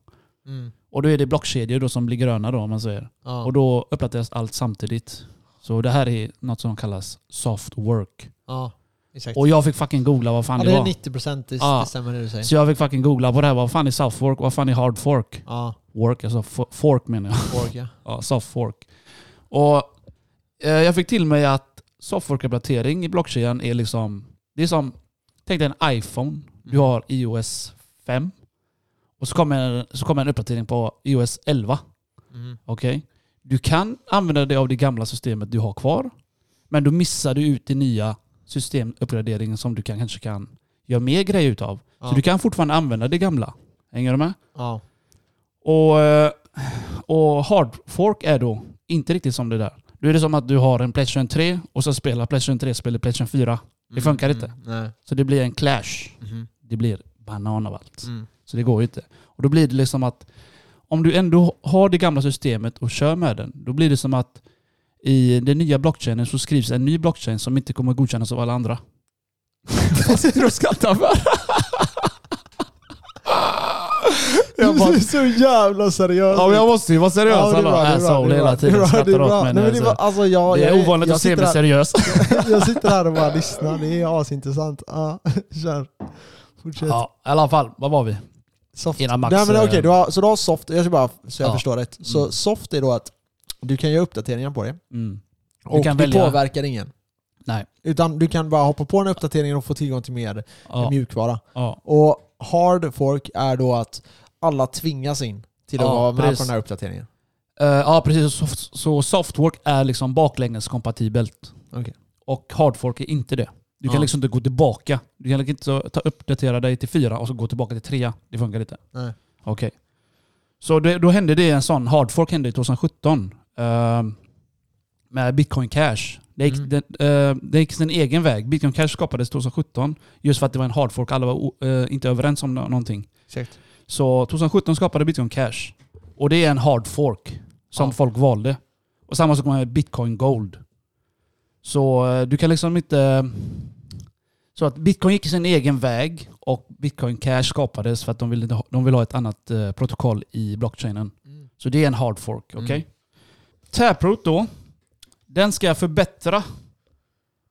Speaker 1: Mm.
Speaker 2: Och då är det blockkedjor då som blir gröna då om man säger.
Speaker 1: Ja.
Speaker 2: Och då uppdateras allt samtidigt. Så det här är något som kallas soft work.
Speaker 1: ja, exakt.
Speaker 2: Och jag fick fucking googla vad fan
Speaker 1: ja,
Speaker 2: det,
Speaker 1: det är
Speaker 2: var.
Speaker 1: 90% det,
Speaker 2: Ja.
Speaker 1: det stämmer det du säger.
Speaker 2: Så jag fick fucking googla på det här. Vad fan är soft work? Vad fan är hard fork?
Speaker 1: Ja,
Speaker 2: Work, alltså fo- fork menar jag.
Speaker 1: ork ja.
Speaker 2: Ja, softfork. Och eh, jag fick till mig att softfork-uppdatering i blockkedjan är liksom... Det är som... Tänk dig en iPhone. Du har iOS 5. Och så kommer, så kommer en uppdatering på iOS 11.
Speaker 1: Mm.
Speaker 2: Okej? Du kan använda dig av det gamla systemet du har kvar. Men då missar du ut det nya systemuppgraderingen som du kan, kanske kan göra mer grejer utav.
Speaker 1: Ja.
Speaker 2: Så du kan fortfarande använda det gamla. Hänger du med?
Speaker 1: Ja.
Speaker 2: Och, eh, och hard fork är då inte riktigt som det där. Då är det som att du har en Playstation 3 och så spelar Playstation 3 spelar Playstation 4. Det funkar
Speaker 1: Mm,
Speaker 2: inte.
Speaker 1: mm, Nej.
Speaker 2: Så det blir en clash.
Speaker 1: Mhm.
Speaker 2: Det blir banan av allt.
Speaker 1: Mm.
Speaker 2: Så det går ju inte. Och då blir det liksom att om du ändå har det gamla systemet och kör med den, då blir det som att i den nya blockchainen så skrivs en ny blockchain som inte kommer godkännas av
Speaker 1: <laughs>
Speaker 2: alla andra. Vad sitter du och skrattar för?
Speaker 1: Jag bara, du <laughs> är så jävla seriös.
Speaker 2: Ja, men jag måste ju vara seriös.
Speaker 1: Ja, det är
Speaker 2: Alla
Speaker 1: bra, det är bra,
Speaker 2: asshole
Speaker 1: det är bra.
Speaker 2: Alltså, hela
Speaker 1: Det är bra,
Speaker 2: tiden
Speaker 1: det är
Speaker 2: skrattar
Speaker 1: bra.
Speaker 2: åt
Speaker 1: Nej,
Speaker 2: mig.
Speaker 1: men
Speaker 2: när
Speaker 1: det är
Speaker 2: jag
Speaker 1: bara-
Speaker 2: säger-
Speaker 1: alltså, jag-
Speaker 2: Det
Speaker 1: jag
Speaker 2: är ovanligt
Speaker 1: jag
Speaker 2: att se
Speaker 1: sitter
Speaker 2: mig
Speaker 1: här-
Speaker 2: seriös.
Speaker 1: Jag sitter här och bara lyssnar. Det är asintressant. Ja, <laughs> kör. Fortsätt.
Speaker 2: Ja, i alla fall. Vad var vi?
Speaker 1: Soft.
Speaker 2: Innan Max...
Speaker 1: Nej, men
Speaker 2: eh,
Speaker 1: okej, du har, så du har soft, jag ska bara så jag
Speaker 2: Ja.
Speaker 1: förstår rätt. Så
Speaker 2: Mm.
Speaker 1: soft är då att du kan göra uppdateringar på det
Speaker 2: Mm.
Speaker 1: och
Speaker 2: kan
Speaker 1: det
Speaker 2: välja-
Speaker 1: påverkar ingen.
Speaker 2: Nej.
Speaker 1: Utan du kan bara hoppa på den uppdateringen och få tillgång till mer
Speaker 2: Ja,
Speaker 1: mjukvara.
Speaker 2: ja,
Speaker 1: Och hard fork är då att alla tvingas in till att
Speaker 2: Ja,
Speaker 1: vara med
Speaker 2: precis.
Speaker 1: på den här uppdateringen.
Speaker 2: Eh, ja, precis. Så, så softwork är liksom baklängeskompatibelt.
Speaker 1: Okej.
Speaker 2: Och hardfork är inte det. Du kan
Speaker 1: Ja.
Speaker 2: liksom inte gå tillbaka. Du kan liksom inte så- ta, uppdatera dig till fyra och så gå tillbaka till trea. Det funkar inte.
Speaker 1: Nej.
Speaker 2: Okej. Så det, då hände det en sån. Hardfork hände 2017. ehm, med Bitcoin Cash. Det gick,
Speaker 1: Mm.
Speaker 2: den, eh, det gick sin egen väg. Bitcoin Cash skapades 2017 just för att det var en hardfork. Alla var o, eh, inte överens om nå- någonting.
Speaker 1: Exakt.
Speaker 2: Så 2017 skapade Bitcoin Cash. Och det är en hard fork som
Speaker 1: Ja.
Speaker 2: folk valde. Och samma sak med Bitcoin Gold. Så eh, du kan liksom inte... Så att Bitcoin gick sin egen väg och Bitcoin Cash skapades för att de ville, inte ha- de ville ha ett annat eh, protokoll i blockchainen.
Speaker 1: Mm.
Speaker 2: Så det är en hard fork. Okej?
Speaker 1: Mm.
Speaker 2: Taproot då. Den ska förbättra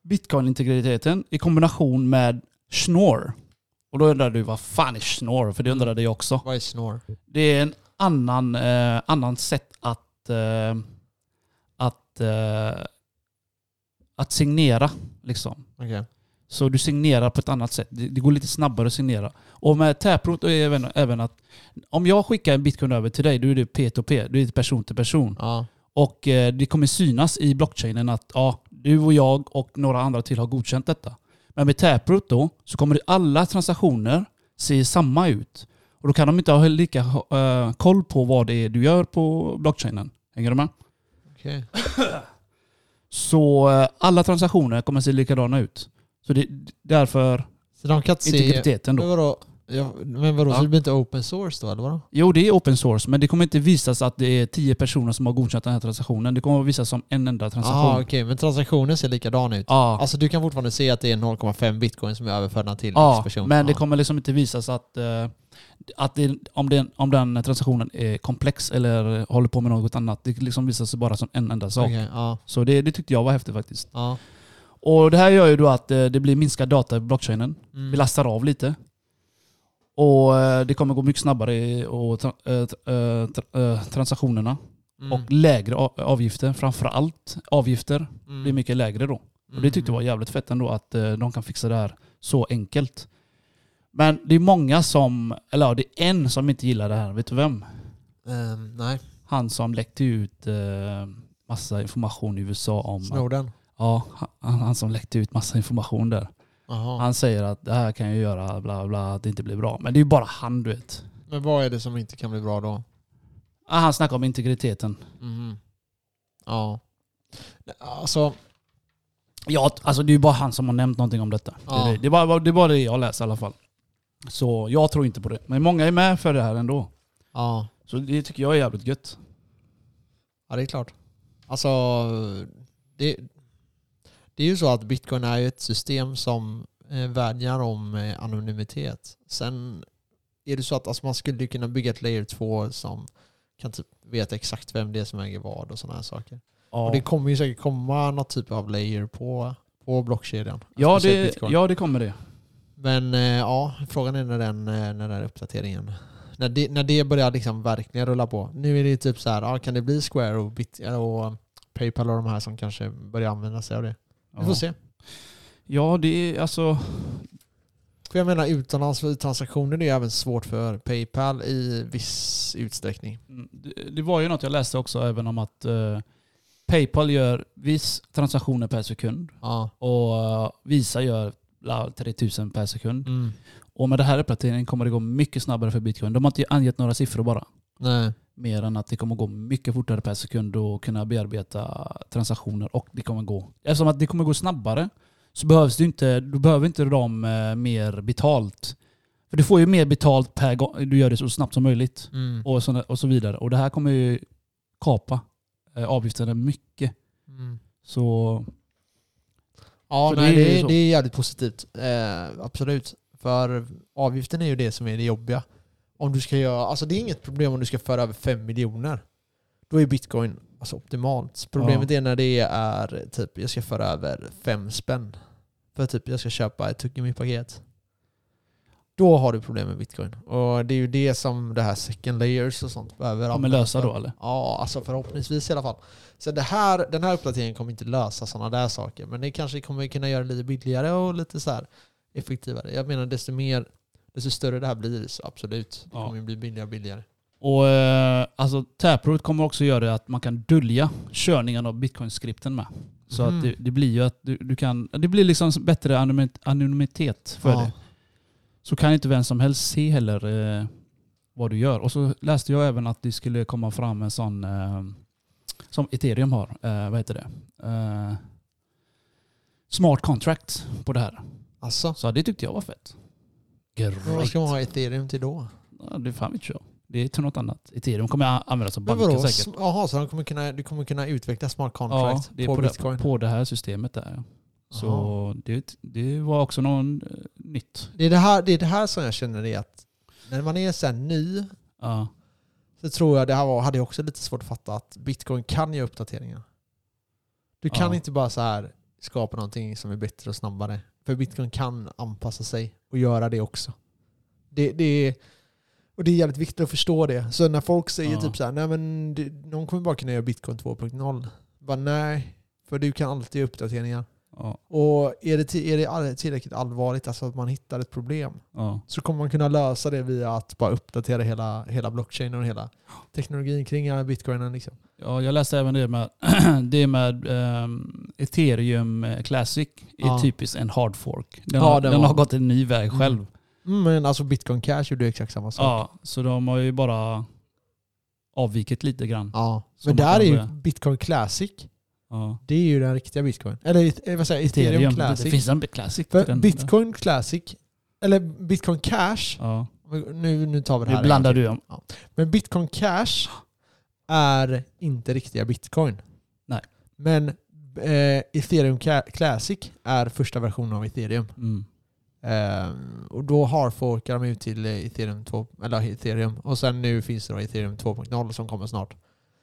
Speaker 2: Bitcoin-integriteten i kombination med Schnorr. Och då undrar du vad fan är Schnorr? För det undrade jag också.
Speaker 1: Vad är snår?
Speaker 2: Det är en annan, eh, annan sätt att, eh, att, eh, att signera. Liksom.
Speaker 1: Okej.
Speaker 2: Så du signerar på ett annat sätt. Det, det går lite snabbare att signera. Och med Taproot är även, även att om jag skickar en bitcoin över till dig, då är det P2P. Du är det person till person.
Speaker 1: Ja.
Speaker 2: Och eh, det kommer synas i blockchainen att ja, du och jag och några andra till har godkänt detta. Men med Taproot då så kommer det- alla transaktioner se samma ut. Och då kan de inte ha lika eh, koll på vad det är du gör på blockchainen. Hänger du med?
Speaker 1: Okej.
Speaker 2: Så eh, alla transaktioner kommer se likadana ut. Så det därför
Speaker 1: Så de kan inte se...
Speaker 2: integriteten
Speaker 1: Men
Speaker 2: då.
Speaker 1: vadå? Ja, men vadå,
Speaker 2: Ja.
Speaker 1: så det blir inte open source då eller vadå?
Speaker 2: Jo, det är open source, men det kommer inte visas att det är tio personer som har godkänt den här transaktionen. Det kommer att visas som en enda transaktion.
Speaker 1: Jaha okej, men transaktionen ser likadan ut.
Speaker 2: Ja.
Speaker 1: Alltså du kan fortfarande se att det är 0,5 bitcoin som är överförda till
Speaker 2: Ja,
Speaker 1: X person.
Speaker 2: men det
Speaker 1: Ja.
Speaker 2: kommer liksom inte visas att, eh, att det, om, den, om den transaktionen är komplex eller håller på med något annat. Det liksom visas bara som en enda sak.
Speaker 1: Okej, ja.
Speaker 2: Så det, det tyckte jag var häftigt faktiskt.
Speaker 1: ja.
Speaker 2: Och det här gör ju då att eh, det blir minskad data i blockchainen.
Speaker 1: Mm.
Speaker 2: Vi lastar av lite. Och eh, det kommer gå mycket snabbare i- och tra, eh, tra, eh, tra, eh, transaktionerna.
Speaker 1: Mm.
Speaker 2: Och lägre a- avgifter. Framförallt avgifter
Speaker 1: Mm.
Speaker 2: blir mycket lägre då. Och det tyckte jag var jävligt fett ändå att eh, de kan fixa det här så enkelt. Men det är många som, eller ja, det är en som inte gillar det här. Vet du vem?
Speaker 1: Ehm, nej,
Speaker 2: Han som läckte ut eh, massa information i USA om...
Speaker 1: Snowden.
Speaker 2: Ja, han, han som läckte ut massa information där.
Speaker 1: Jaha.
Speaker 2: Han säger att det här kan jag göra, bla bla, att det inte blir bra. Men det är ju bara han du vet.
Speaker 1: Men vad är det som inte kan bli bra då?
Speaker 2: Ah, han snackar om integriteten.
Speaker 1: Mhm. Ja. Alltså,
Speaker 2: Ja, alltså det är ju bara han som har nämnt någonting om detta. Det, är
Speaker 1: Ja.
Speaker 2: det. Det, är bara, det är bara det jag läser i alla fall. Så jag tror inte på det. Men många är med för det här ändå.
Speaker 1: ja.
Speaker 2: Så det tycker jag är jävligt gött.
Speaker 1: ja det är klart. Alltså, det, det är ju så att bitcoin är ju ett system som eh, värnar om eh, anonymitet. Sen är det så att alltså, man skulle ju kunna bygga ett layer 2 som kan typ veta exakt vem det är som äger vad och sådana här saker.
Speaker 2: Ja,
Speaker 1: Och det kommer ju säkert komma något typ av layer på, på blockkedjan. Alltså,
Speaker 2: ja,
Speaker 1: Speciellt
Speaker 2: det,
Speaker 1: bitcoin.
Speaker 2: ja det kommer det.
Speaker 1: Men eh, ja, frågan är när den, eh, när den uppdateringen... När det, när det börjar liksom verkligen rulla på. Nu är det ju typ så här, ja, kan det bli Square och, Bit, och Paypal och de här som kanske börjar använda sig av det? Vi får
Speaker 2: Ja.
Speaker 1: se.
Speaker 2: Ja, det är alltså...
Speaker 1: För jag menar utomlands för transaktioner är ju även svårt för Paypal i viss utsträckning.
Speaker 2: mm, det- Det var ju något jag läste också även om att eh, Paypal gör viss transaktioner per sekund
Speaker 1: Ja.
Speaker 2: och eh, Visa gör la, 3000 per sekund.
Speaker 1: Mm.
Speaker 2: Och med den här uppdateringen kommer det gå mycket snabbare för bitcoin. De har inte angett några siffror bara.
Speaker 1: Nej.
Speaker 2: Mer än att det kommer gå mycket fortare per sekund och kunna bearbeta transaktioner. Och det kommer gå. Eftersom att det kommer gå snabbare så behövs det inte, du behöver inte de eh, mer betalt. För du får ju mer betalt per gång du gör det så snabbt som möjligt.
Speaker 1: Mm.
Speaker 2: Och så, och så vidare. Och det här kommer ju kapa eh, avgifterna mycket.
Speaker 1: Mm.
Speaker 2: Så
Speaker 1: Ja,
Speaker 2: Så
Speaker 1: nej,
Speaker 2: det är
Speaker 1: det,
Speaker 2: så.
Speaker 1: är, det är jävligt positivt. Eh, absolut. För avgiften är ju det som är det jobbiga. Om du ska göra, alltså det är inget problem om du ska föra över 5 miljoner. Då är bitcoin alltså, optimalt. Problemet är när det är typ, jag ska föra över 5 spänn. För typ, jag ska köpa ett tuggummi-paket. Då har du problem med bitcoin. Och det är ju det som det här second layers och sånt behöver
Speaker 2: kommer
Speaker 1: användas
Speaker 2: lösa
Speaker 1: för.
Speaker 2: då eller?
Speaker 1: Ja, alltså förhoppningsvis i alla fall. Så det här, den här uppdateringen kommer inte lösa sådana där saker, men det kanske kommer kunna göra det lite billigare och lite så här effektivare. Jag menar desto mer, desto större det här blir, så absolut. Det
Speaker 2: Ja.
Speaker 1: kommer ju bli billigare och billigare.
Speaker 2: Och eh, alltså Taproot kommer också göra det att man kan dölja körningen av bitcoin-skripten med. Så
Speaker 1: Mhm.
Speaker 2: att det, det blir ju att du, du kan, det blir liksom bättre anonymi- anonymitet för
Speaker 1: Ja.
Speaker 2: dig. Så kan inte vem som helst se heller eh, vad du gör. Och så läste jag även att det skulle komma fram en sån eh, som ethereum har. Eh, vad heter det? Eh, smart contract på det här.
Speaker 1: Alltså,
Speaker 2: Så det tyckte jag var fett.
Speaker 1: vad
Speaker 2: Great.
Speaker 1: ska man ha ethereum till då?
Speaker 2: Ja, det fan vet jag. Det är till något annat. Ethereum kommer jag använda som
Speaker 1: Men
Speaker 2: banken
Speaker 1: vadå?
Speaker 2: säkert.
Speaker 1: S- Jaha, så de kommer kunna, du kommer kunna utveckla smart
Speaker 2: Ja,
Speaker 1: contract
Speaker 2: det är
Speaker 1: på,
Speaker 2: på,
Speaker 1: bitcoin?
Speaker 2: det, på det här systemet där. ja. Så
Speaker 1: Aha.
Speaker 2: det, det var också någon eh, nytt.
Speaker 1: Det, är det, här, det är det här som jag känner är att när man är sen ny
Speaker 2: Ja.
Speaker 1: så tror jag det här var, hade jag också lite svårt att fatta att bitcoin kan göra uppdateringar. Du kan
Speaker 2: Ja.
Speaker 1: inte bara så här skapa någonting som är bättre och snabbare. För bitcoin kan anpassa sig och göra det också. Det, det är, och det är jävligt viktigt att förstå det. Så när folk säger
Speaker 2: Ja.
Speaker 1: typ så här, nej men det, någon kommer bara kunna göra bitcoin 2.0. Bara nej, för du kan alltid göra uppdateringar.
Speaker 2: Ja,
Speaker 1: Och är det, ti- är det all- tillräckligt allvarligt, alltså att man hittar ett problem,
Speaker 2: ja,
Speaker 1: så kommer man kunna lösa det via att bara uppdatera hela, hela blockchainen och hela teknologin kring eh, bitcoinen. Liksom.
Speaker 2: ja, jag läste även det med, <clears throat> det med ehm, Ethereum eh, Classic. är
Speaker 1: Ja.
Speaker 2: typiskt en hard fork. Den,
Speaker 1: Ja,
Speaker 2: har,
Speaker 1: den
Speaker 2: den har
Speaker 1: var-
Speaker 2: gått en ny väg
Speaker 1: Mm.
Speaker 2: själv.
Speaker 1: Mm, men alltså bitcoin cash gjorde ju exakt samma sak.
Speaker 2: Ja, så de har ju bara avvikit lite grann.
Speaker 1: Ja.
Speaker 2: Så
Speaker 1: Men
Speaker 2: man
Speaker 1: där är
Speaker 2: kan
Speaker 1: ju
Speaker 2: börja-
Speaker 1: bitcoin classic,
Speaker 2: Ja.
Speaker 1: det är ju den riktiga bitcoin. Eller eh, vad säger jag, ethereum,
Speaker 2: Ethereum,
Speaker 1: classic.
Speaker 2: det finns en Classic.
Speaker 1: För
Speaker 2: den-
Speaker 1: bitcoin classic, eller bitcoin cash,
Speaker 2: Ja.
Speaker 1: nu, nu tar vi det här.
Speaker 2: Nu blandar du om.
Speaker 1: Men bitcoin cash är inte riktiga bitcoin.
Speaker 2: Nej.
Speaker 1: Men eh, ethereum Ca- classic är första versionen av ethereum.
Speaker 2: Mm.
Speaker 1: Ehm, och då har folk de ut till eh, ethereum 2, eller ethereum. Och sen nu finns det då ethereum 2.0 som kommer snart.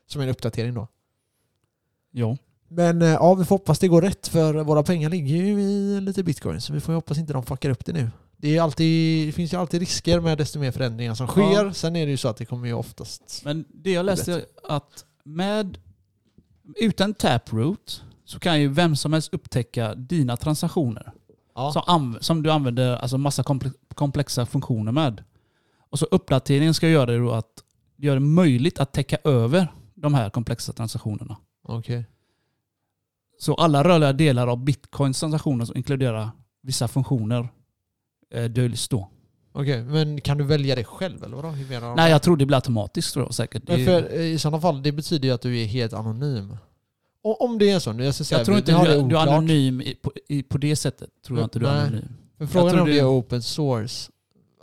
Speaker 1: Som en uppdatering då.
Speaker 2: Jo.
Speaker 1: Men eh, ja, vi får hoppas det går rätt för våra pengar ligger ju i lite bitcoin. Så vi får ju hoppas inte de fuckar upp det nu. Det, är alltid, det finns ju alltid risker med desto mer förändringar som
Speaker 2: Ja.
Speaker 1: sker. Sen är det ju så att det kommer ju oftast...
Speaker 2: Men det jag läste är att med, utan taproot så kan ju vem som helst upptäcka dina transaktioner.
Speaker 1: Ja.
Speaker 2: Som, anv- som du använder alltså massa komple- komplexa funktioner med. Och så uppdateringen ska göra det då att göra det möjligt att täcka över de här komplexa transaktionerna.
Speaker 1: Okej.
Speaker 2: Så alla rörliga delar av bitcoins transaktioner som inkluderar vissa funktioner eh, döljs då.
Speaker 1: Okej, men kan du välja det själv eller vadå? Hur menar du?
Speaker 2: Nej, jag tror det blir automatiskt tror jag säkert.
Speaker 1: Men
Speaker 2: Det-
Speaker 1: för, eh, I sådana fall, det betyder ju att du är helt anonym. O- Om det är så. nu, Jag, ska säga,
Speaker 2: jag tror
Speaker 1: vi-
Speaker 2: inte
Speaker 1: vi har
Speaker 2: du,
Speaker 1: det
Speaker 2: du är
Speaker 1: oklart.
Speaker 2: anonym i, på, i, på det sättet. Tror jag inte du är
Speaker 1: Nej.
Speaker 2: anonym.
Speaker 1: Men frågan
Speaker 2: tror
Speaker 1: är om det är
Speaker 2: det-
Speaker 1: open source.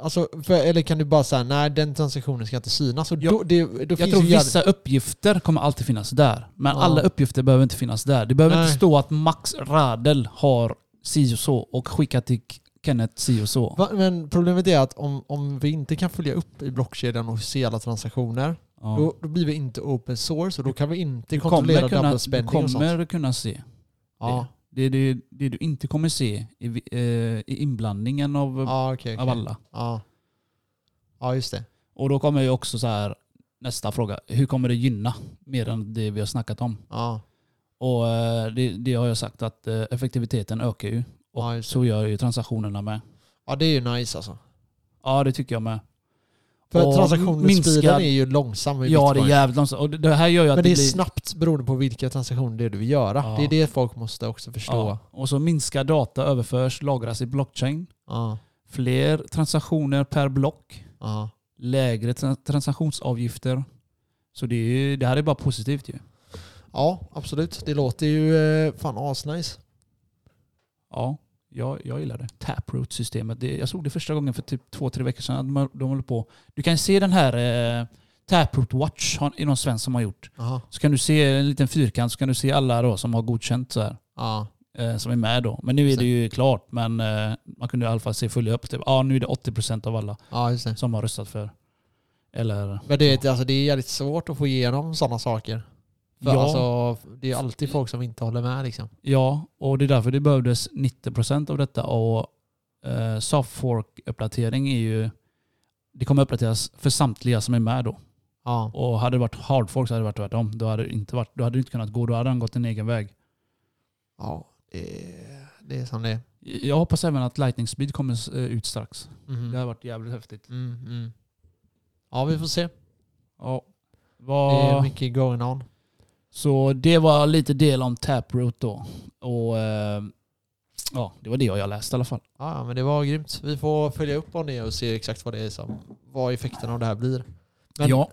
Speaker 1: Alltså, för, eller kan du bara säga nej den transaktionen ska inte synas? Och
Speaker 2: Jag-
Speaker 1: då, det, då finns
Speaker 2: Jag tror
Speaker 1: ju jävligt-
Speaker 2: vissa uppgifter kommer alltid finnas där. Men
Speaker 1: Ja.
Speaker 2: alla uppgifter behöver inte finnas där. Det behöver
Speaker 1: Nej.
Speaker 2: inte stå att Max Radel har si och så och skickat till Kenneth si och så.
Speaker 1: Va- Men problemet är att om, om vi inte kan följa upp i blockkedjan och se alla transaktioner,
Speaker 2: Ja.
Speaker 1: då, då blir vi inte open source och då kan vi inte
Speaker 2: Du
Speaker 1: kontrollera
Speaker 2: kommer,
Speaker 1: double
Speaker 2: kunna, du
Speaker 1: spending och sånt.
Speaker 2: kommer kunna se.
Speaker 1: Ja,
Speaker 2: Det, är det, det du inte kommer se i, vi- eh, i inblandningen av,
Speaker 1: ja okej.
Speaker 2: av
Speaker 1: okej.
Speaker 2: alla.
Speaker 1: Ja. ja, just det.
Speaker 2: Och då kommer ju också så här nästa fråga. Hur kommer det gynna mer än det vi har snackat om?
Speaker 1: Ja,
Speaker 2: Och eh, det, det har jag sagt att eh, effektiviteten ökar ju. Och
Speaker 1: Ja, just det.
Speaker 2: så gör ju transaktionerna med.
Speaker 1: ja det är ju nice alltså.
Speaker 2: Ja, det tycker jag med.
Speaker 1: För
Speaker 2: Och
Speaker 1: transaktionsspeeden
Speaker 2: minskad-
Speaker 1: är ju långsam i
Speaker 2: Ja, det
Speaker 1: bitcoin.
Speaker 2: är jävligt långsamt. Och det- det här gör ju att
Speaker 1: Men det är
Speaker 2: blir...
Speaker 1: snabbt beroende på vilka transaktioner det är du vill göra.
Speaker 2: Ja.
Speaker 1: Det är det folk måste också förstå.
Speaker 2: Ja. Och så minskar data överförs, lagras i blockchain.
Speaker 1: Ja,
Speaker 2: Fler transaktioner per block.
Speaker 1: ja.
Speaker 2: Lägre tra- transaktionsavgifter. Så det, är ju, det här är bara positivt ju.
Speaker 1: Ja, absolut. Det låter ju eh, fan asnice.
Speaker 2: Ja, jag, jag gillar det. Taproot-systemet. Det, jag såg det första gången för typ två, tre veckor sedan. De, de håller på. Du kan se den här eh, Taproot Watch, har- är någon svensk som har gjort.
Speaker 1: Aha.
Speaker 2: Så kan du se en liten fyrkant så kan du se alla då som har godkänt så här.
Speaker 1: Ja.
Speaker 2: Eh, som är med då. Men nu är det ju klart. Men eh, man kunde i alla fall se följa upp. Typ, ah, nu är det 80% av alla
Speaker 1: ja, just det.
Speaker 2: som har röstat för. Eller...
Speaker 1: Men det, är- alltså, det är jävligt svårt att få igenom sådana saker. För
Speaker 2: Ja,
Speaker 1: alltså, det är alltid folk som inte håller med liksom.
Speaker 2: ja, och det är därför det behövdes 90% av detta. Och eh, soft fork-uppdatering är ju... Det kommer uppdateras för samtliga som är med då.
Speaker 1: Ja,
Speaker 2: Och hade det varit hard fork så hade det varit tvärtom. Då hade det inte, varit, då hade det inte kunnat gå. Då hade han gått en egen väg.
Speaker 1: ja det, är- det är som det är.
Speaker 2: Jag hoppas även att lightning speed kommer eh, ut strax.
Speaker 1: Mhm.
Speaker 2: Det hade varit jävligt häftigt.
Speaker 1: Mm, mm. Ja, Mm-hmm. vi får se.
Speaker 2: Ja.
Speaker 1: Det är
Speaker 2: Vad,
Speaker 1: mycket going on.
Speaker 2: så det var lite del om Taproot då. Och eh, ja, det var det jag läste i alla fall.
Speaker 1: Ja, ja, men det var grymt. Vi får följa upp om det och se exakt vad det är som, vad effekten av det här blir. Men-
Speaker 2: ja.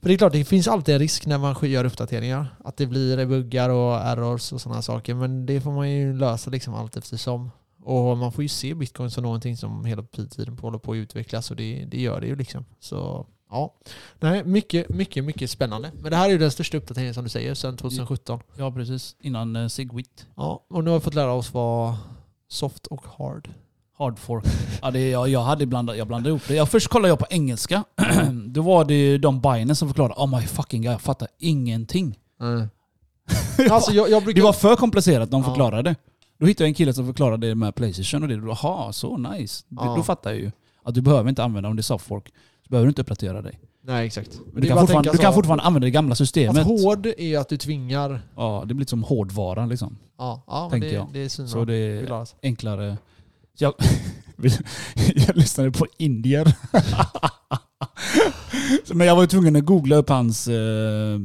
Speaker 1: För det är klart, det finns alltid en risk när man gör uppdateringar. Att det blir buggar och errors och sådana saker. Men det får man ju lösa liksom allt eftersom. Och man får ju se bitcoin som någonting som hela tiden håller på att utvecklas. Och det, det gör det ju liksom. Så ja. Nej, mycket, mycket, mycket spännande. Men det här är ju den största uppdateringen som du säger sedan 2017.
Speaker 2: ja, precis. Innan eh, Sigwit.
Speaker 1: Ja, och nu har vi fått lära oss vad soft och hard.
Speaker 2: Hard fork. Ja, det, jag, jag, hade blandat, jag blandade ihop det. Jag, först kollade jag på engelska. <clears throat> Då var det ju de Binance som förklarade. Oh my fucking god, jag fattar ingenting.
Speaker 1: Alltså jag,
Speaker 2: <laughs>
Speaker 1: jag brukar...
Speaker 2: Det var för komplicerat de
Speaker 1: Ja.
Speaker 2: förklarade. Då hittade jag en kille som förklarade det med Playstation och det. Då, Jaha, så nice. Det-
Speaker 1: Ja.
Speaker 2: Då fattar jag ju att du behöver inte använda, om det är softfork, så behöver du inte uppdatera dig.
Speaker 1: Nej, exakt.
Speaker 2: Men du, kan fortfarande, du kan fortfarande använda det gamla systemet.
Speaker 1: Att hård är att du tvingar...
Speaker 2: ja, det blir lite som hårdvara liksom.
Speaker 1: Ja, ja men
Speaker 2: Tänker
Speaker 1: det,
Speaker 2: jag.
Speaker 1: det är svinbra.
Speaker 2: Så det
Speaker 1: Vi
Speaker 2: är
Speaker 1: la oss.
Speaker 2: enklare. Så <laughs> jag, jag lyssnade på indier. <laughs> Så, Men jag var ju tvungen att googla upp hans eh,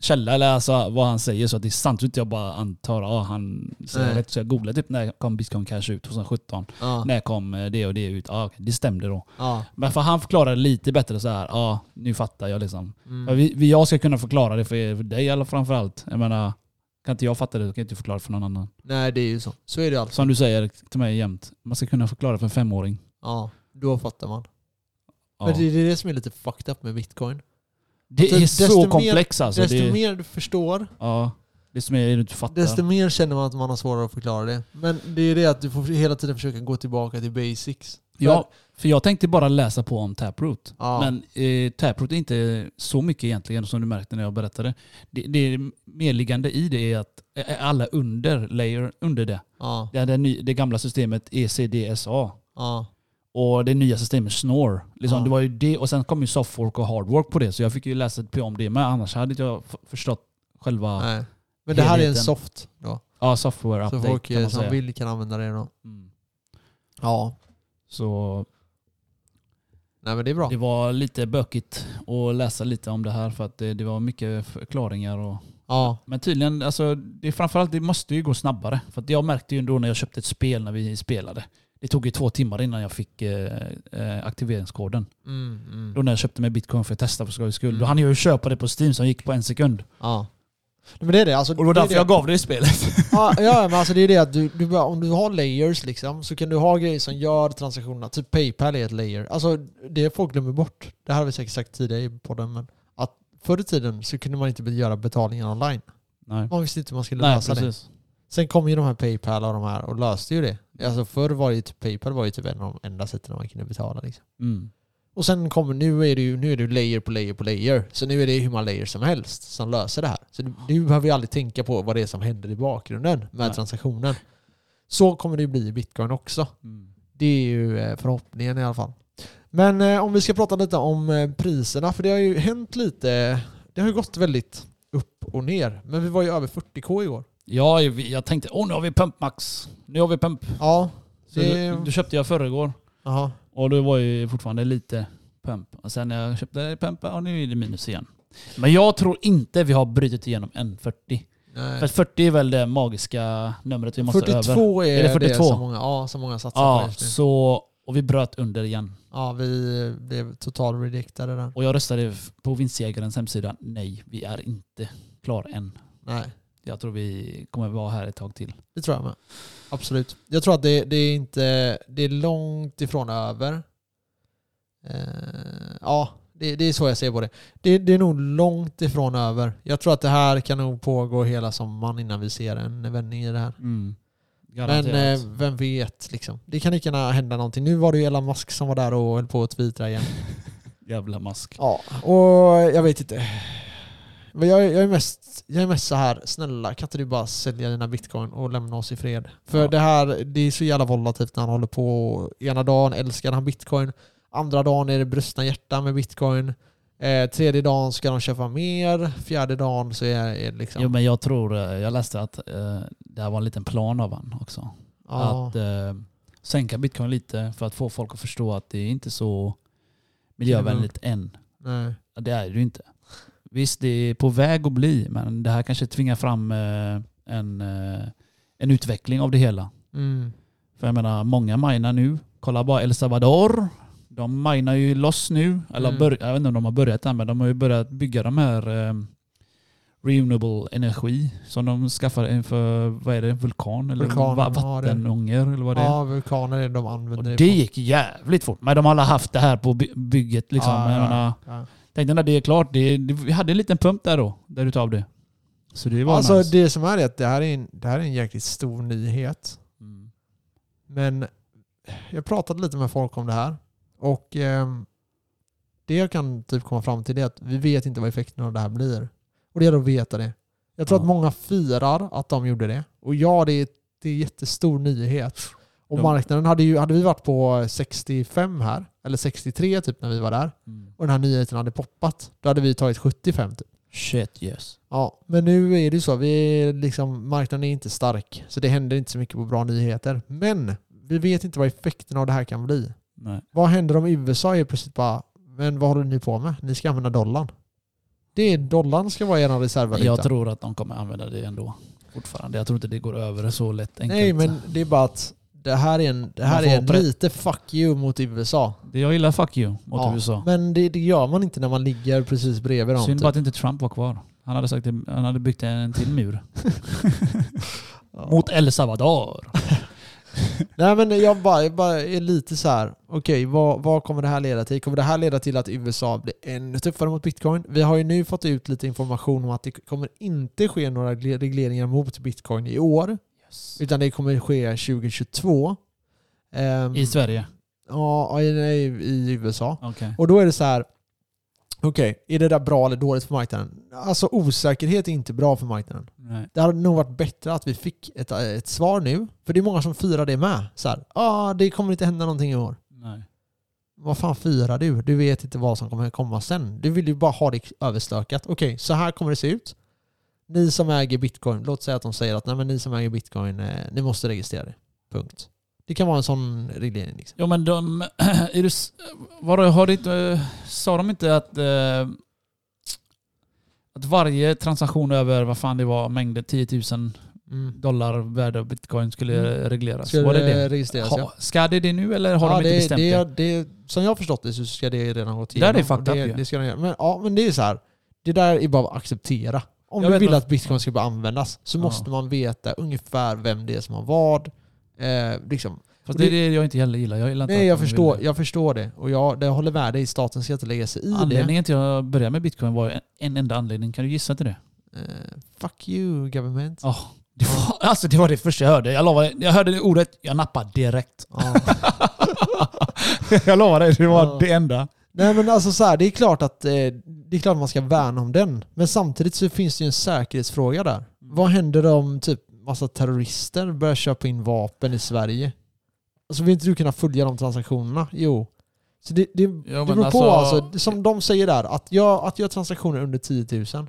Speaker 2: källa, eller alltså vad han säger så att det är sant. Så inte jag bara antar, ja han säger
Speaker 1: Nej.
Speaker 2: rätt. Så jag googlade typ när kom Bitcoin Cash ut 2017.
Speaker 1: Ja.
Speaker 2: När kom eh, det och det ut? Ja, okej, det stämde då.
Speaker 1: Ja.
Speaker 2: Men för han förklarade lite bättre så här. ja nu fattar jag liksom.
Speaker 1: Mm.
Speaker 2: Men vi, vi, jag ska kunna förklara det för, er, för dig alla framförallt. Jag menar, kan inte jag fatta det så kan jag inte förklara det för någon annan.
Speaker 1: Nej, det är ju så. Så är det alltså. alltid.
Speaker 2: Som du säger till mig jämt, man ska kunna förklara för en femåring.
Speaker 1: Ja, då fattar man.
Speaker 2: Ja.
Speaker 1: Men det
Speaker 2: det,
Speaker 1: det är det som är lite fucked up med bitcoin.
Speaker 2: är
Speaker 1: desto
Speaker 2: så
Speaker 1: mer-
Speaker 2: komplext alltså.
Speaker 1: desto
Speaker 2: det,
Speaker 1: mer du förstår,
Speaker 2: ja, desto mer du inte fattar.
Speaker 1: desto mer känner man att man har svårare att förklara det. Men det är det att du får hela tiden försöka gå tillbaka till basics.
Speaker 2: ja, för jag tänkte bara läsa på om Taproot.
Speaker 1: Ja.
Speaker 2: Men eh, Taproot är inte så mycket egentligen som du märkte när jag berättade. Det, det merliggande i det är att eh, alla under, layer under det,
Speaker 1: Ja,
Speaker 2: det, är det, ny, det gamla systemet E ECDSA
Speaker 1: ja,
Speaker 2: och det nya systemet Snore. Liksom,
Speaker 1: Ja.
Speaker 2: Det var ju det och sen kom ju softwork och hardwork på det så jag fick ju läsa på om det med annars hade inte jag f- förstått själva
Speaker 1: nej. Men det här är en
Speaker 2: Helheten.
Speaker 1: soft då.
Speaker 2: ja, software
Speaker 1: Så
Speaker 2: update
Speaker 1: folk
Speaker 2: kan
Speaker 1: eh,
Speaker 2: man
Speaker 1: som
Speaker 2: säga.
Speaker 1: vill kan använda det då.
Speaker 2: Mm.
Speaker 1: Ja,
Speaker 2: Så
Speaker 1: nej men det är bra.
Speaker 2: det var lite bökigt att läsa lite om det här för att det, det var mycket förklaringar och
Speaker 1: Ja,
Speaker 2: Men tydligen, alltså, det är framförallt det måste ju gå snabbare. För att jag märkte ju ändå när jag köpte ett spel när vi spelade. Det tog ju två timmar innan jag fick eh, eh, aktiveringskoden.
Speaker 1: mm, mm.
Speaker 2: Då när jag köpte mig bitcoin för att testa för skojs skull.
Speaker 1: Mm.
Speaker 2: Då hann jag ju köpa det på Steam som gick på en sekund.
Speaker 1: ja. Nej, Men det är det. Alltså,
Speaker 2: Och det var
Speaker 1: det är
Speaker 2: därför
Speaker 1: det.
Speaker 2: jag gav det i spelet.
Speaker 1: Ja, ja, men alltså det är det att du, du, bara- om du har layers liksom så kan du ha grejer som gör transaktionerna. Typ Paypal är ett layer. Alltså det folk glömmer bort. Det här har vi säkert sagt tidigare i podden men att förr i tiden så kunde man inte göra betalningar online.
Speaker 2: <laughs> Nej,
Speaker 1: Man visste inte hur man skulle
Speaker 2: Nej
Speaker 1: lösa det.
Speaker 2: precis.
Speaker 1: Sen kom ju de här Paypal och de här och löste ju det. Alltså förr var ju typ, Paypal var ju typ en av de enda sätten man kunde betala liksom.
Speaker 2: Mm.
Speaker 1: Och sen kommer, nu är det ju nu är det ju layer på layer på layer. Så nu är det ju hur många layers som helst som löser det här. Så du, du behöver ju aldrig tänka på vad det är som händer i bakgrunden med
Speaker 2: Nej.
Speaker 1: transaktionen. Så kommer det ju bli i bitcoin också.
Speaker 2: Mm.
Speaker 1: Det är ju eh, förhoppningen i alla fall. Men eh, om vi ska prata lite om eh, priserna, för det har ju hänt lite. Det har ju gått väldigt upp och ner. Men vi var ju över 40k igår.
Speaker 2: Ja, vi- jag tänkte, åh nu har vi pump max. Nu har vi pump.
Speaker 1: Ja,
Speaker 2: Så
Speaker 1: Det-
Speaker 2: Då köpte jag förrgår.
Speaker 1: jaha.
Speaker 2: Och då var ju fortfarande lite pump. Och sen när jag köpte pump, ja nu är det minus igen. Men jag tror inte vi har brutit igenom 1,40. För
Speaker 1: Nej.
Speaker 2: att 40 är väl det magiska numret vi måste 42. över.
Speaker 1: 42 är,
Speaker 2: Är det
Speaker 1: det,
Speaker 2: 42?
Speaker 1: som många, ja, som många satsar på
Speaker 2: Ja,
Speaker 1: just nu.
Speaker 2: så, och vi bröt under igen.
Speaker 1: Ja, vi blev total rediktade där.
Speaker 2: Och jag röstade f- på vinstjägarens hemsida. Nej, vi är inte klar än.
Speaker 1: Nej.
Speaker 2: Jag tror vi kommer vara här ett tag till.
Speaker 1: Det tror jag med. Absolut. Jag tror att det, det är inte det är långt ifrån över. Eh, ja, det, det är så jag ser på det. det. Det är nog långt ifrån över. Jag tror att det här kan nog pågå hela sommaren innan vi ser en vändning i det här.
Speaker 2: Mm.
Speaker 1: Men eh,
Speaker 2: Garanterat.
Speaker 1: vem vet liksom. Det kan lika gärna hända någonting. Nu var det ju Elon Musk som var där och höll på att twittra igen.
Speaker 2: Jävla mask.
Speaker 1: Ja, och jag vet inte. Men jag, jag, är mest, jag är mest så här, snälla kan inte du bara sälja dina bitcoin och lämna oss i fred? För
Speaker 2: Ja.
Speaker 1: det här, det är så jävla volatilt när han håller på. och Ena dagen älskar han bitcoin, andra dagen är det brustna hjärtan med bitcoin. Eh, tredje dagen ska de köpa mer, fjärde dagen så är är det liksom...
Speaker 2: Jo, men jag tror, eh, jag läste att eh, det här var en liten plan av han också.
Speaker 1: ja,
Speaker 2: att eh, sänka bitcoin lite för att få folk att förstå att det är inte så
Speaker 1: Kliva
Speaker 2: miljövänligt än.
Speaker 1: Nej.
Speaker 2: Ja, Det är det ju inte. Visst, det är på väg att bli, men det här kanske tvingar fram eh, en, eh, en utveckling av det hela.
Speaker 1: Mm.
Speaker 2: För jag menar, många minar nu. Kolla bara El Salvador. De minar ju loss nu. Eller
Speaker 1: Mm.
Speaker 2: bör, jag vet inte om de har börjat än, men de har ju börjat bygga de här eh, renewable energi som de skaffar inför, vad är det, vulkan? Eller
Speaker 1: Vulkan,
Speaker 2: va-
Speaker 1: ja, det-
Speaker 2: vattenånger eller vad det är.
Speaker 1: Ja, vulkaner är det de
Speaker 2: Och
Speaker 1: använder.
Speaker 2: det gick jävligt fort. Men de har alla haft det här på by- bygget liksom.
Speaker 1: Ja,
Speaker 2: Men jag
Speaker 1: ja,
Speaker 2: menar,
Speaker 1: ja.
Speaker 2: Tänkte när det är klart, det, det, vi hade en liten pump där då, där utav det. Så det var
Speaker 1: Alltså
Speaker 2: nice.
Speaker 1: det som är det att det här är, en, det här är en jäkligt stor nyhet.
Speaker 2: Mm.
Speaker 1: Men jag pratade lite med folk om det här. Och ehm, det jag kan typ komma fram till är att vi vet inte vad effekten av det här blir. Och det gäller att veta det. Jag tror
Speaker 2: Ja.
Speaker 1: att många firar att de gjorde det. Och ja, det är, det är jättestor nyhet. Och
Speaker 2: Ja.
Speaker 1: marknaden hade ju, hade vi varit på 65 här, eller 63 typ när vi var där,
Speaker 2: Mm.
Speaker 1: och den här nyheten hade poppat, då hade vi tagit 75 typ.
Speaker 2: Shit yes.
Speaker 1: Ja, men nu är det ju så. Vi är liksom, marknaden är inte stark, så det händer inte så mycket på bra nyheter. Men vi vet inte vad effekten av det här kan bli.
Speaker 2: Nej.
Speaker 1: Vad händer om USA är plötsligt bara, men vad håller ni på med? Ni ska använda dollarn. Det är dollarn ska vara er reservvaluta.
Speaker 2: Jag tror att de kommer använda det ändå. Fortfarande. Jag tror inte det går över så lätt enkelt.
Speaker 1: Nej, men det är bara att det här är, en, det här
Speaker 2: Man får
Speaker 1: är en
Speaker 2: pre-
Speaker 1: lite fuck you mot USA.
Speaker 2: Det- Jag gillar fuck you mot
Speaker 1: Ja,
Speaker 2: USA.
Speaker 1: Men det, det gör man inte när man ligger precis bredvid dem.
Speaker 2: Synd
Speaker 1: typ.
Speaker 2: bara att inte Trump var kvar. Han hade, sagt, det- han hade byggt en till mur.
Speaker 1: <laughs> Ja.
Speaker 2: Mot El Salvador.
Speaker 1: Nej men jag bara, jag bara är lite så här. okej vad, vad kommer det här leda till? Kommer det här leda till att USA blir ännu tuffare mot bitcoin? Vi har ju nu fått ut lite information om att det kommer inte ske några regle- regleringar mot bitcoin i år,
Speaker 2: Yes.
Speaker 1: utan det kommer ske 2022. Ehm,
Speaker 2: I Sverige.
Speaker 1: ja, i, nej, i USA.
Speaker 2: Okej.
Speaker 1: Och då är det så här. okej, är det där bra eller dåligt för marknaden? Alltså osäkerhet är inte bra för marknaden.
Speaker 2: Nej.
Speaker 1: Det hade nog varit bättre att vi fick ett, eh, ett svar nu. För det är många som firar det med. Så här, ah, det kommer inte hända någonting i år.
Speaker 2: Nej.
Speaker 1: Vad fan firar du? Du vet inte vad som kommer komma sen. Du vill ju bara ha det överstökat. Okej, så här kommer det se ut. Ni som äger bitcoin, låt säga att de säger att Nej, men ni som äger bitcoin, eh, ni måste registrera det. Punkt. Det kan vara en sån reglering. Liksom.
Speaker 2: Ja men de... <clears throat> Är du, s- vadå, har det inte, sa de inte att, eh, att varje transaktion över vad fan det var, mängden 10 000
Speaker 1: Mm.
Speaker 2: dollar värde av bitcoin skulle regleras?
Speaker 1: Ska
Speaker 2: var det
Speaker 1: det
Speaker 2: det?
Speaker 1: registreras? ja.
Speaker 2: Ha, ska det det nu eller har
Speaker 1: ja,
Speaker 2: de inte
Speaker 1: det,
Speaker 2: bestämt det?
Speaker 1: det, det? Som jag har förstått det så ska det redan gått
Speaker 2: Det där är
Speaker 1: igenom.
Speaker 2: fucked
Speaker 1: Och
Speaker 2: up
Speaker 1: det,
Speaker 2: ju.
Speaker 1: det ska de göra. Men, ja, men det är så här. Det där är bara att acceptera. Om
Speaker 2: Jag
Speaker 1: du
Speaker 2: vet
Speaker 1: vill
Speaker 2: vad-
Speaker 1: att bitcoin ska börja användas så
Speaker 2: Ja.
Speaker 1: måste man veta ungefär vem det är som har vad. Eh, liksom.
Speaker 2: Fast det är det jag inte heller gillar. Jag gillar inte
Speaker 1: Nej,
Speaker 2: att
Speaker 1: jag
Speaker 2: de vill
Speaker 1: förstår,
Speaker 2: det.
Speaker 1: jag förstår det. Och jag, det håller med dig, staten ska inte lägga sig i det.
Speaker 2: Anledningen till att jag började med bitcoin var en, en enda anledning. Kan du gissa till det?
Speaker 1: Eh, fuck you government.
Speaker 2: Ja. Det var, <laughs> alltså det var det första jag hörde. Jag lovar, jag hörde det ordet, jag nappade direkt. <laughs>
Speaker 1: Ja.
Speaker 2: jag lovar dig, det var
Speaker 1: Ja.
Speaker 2: det enda.
Speaker 1: Nej men alltså så här, det är klart att eh, det är klart man ska värna om den. Men samtidigt så finns det ju en säkerhetsfråga
Speaker 2: Mm.
Speaker 1: där. Vad händer om typ massa terrorister börjar köpa in vapen i Sverige? Alltså vill inte du kunna följa de transaktionerna? Jo. Så det, det, det
Speaker 2: men
Speaker 1: beror på
Speaker 2: alltså-
Speaker 1: alltså. Som de säger där, att jag, att jag har transaktioner under 10 000,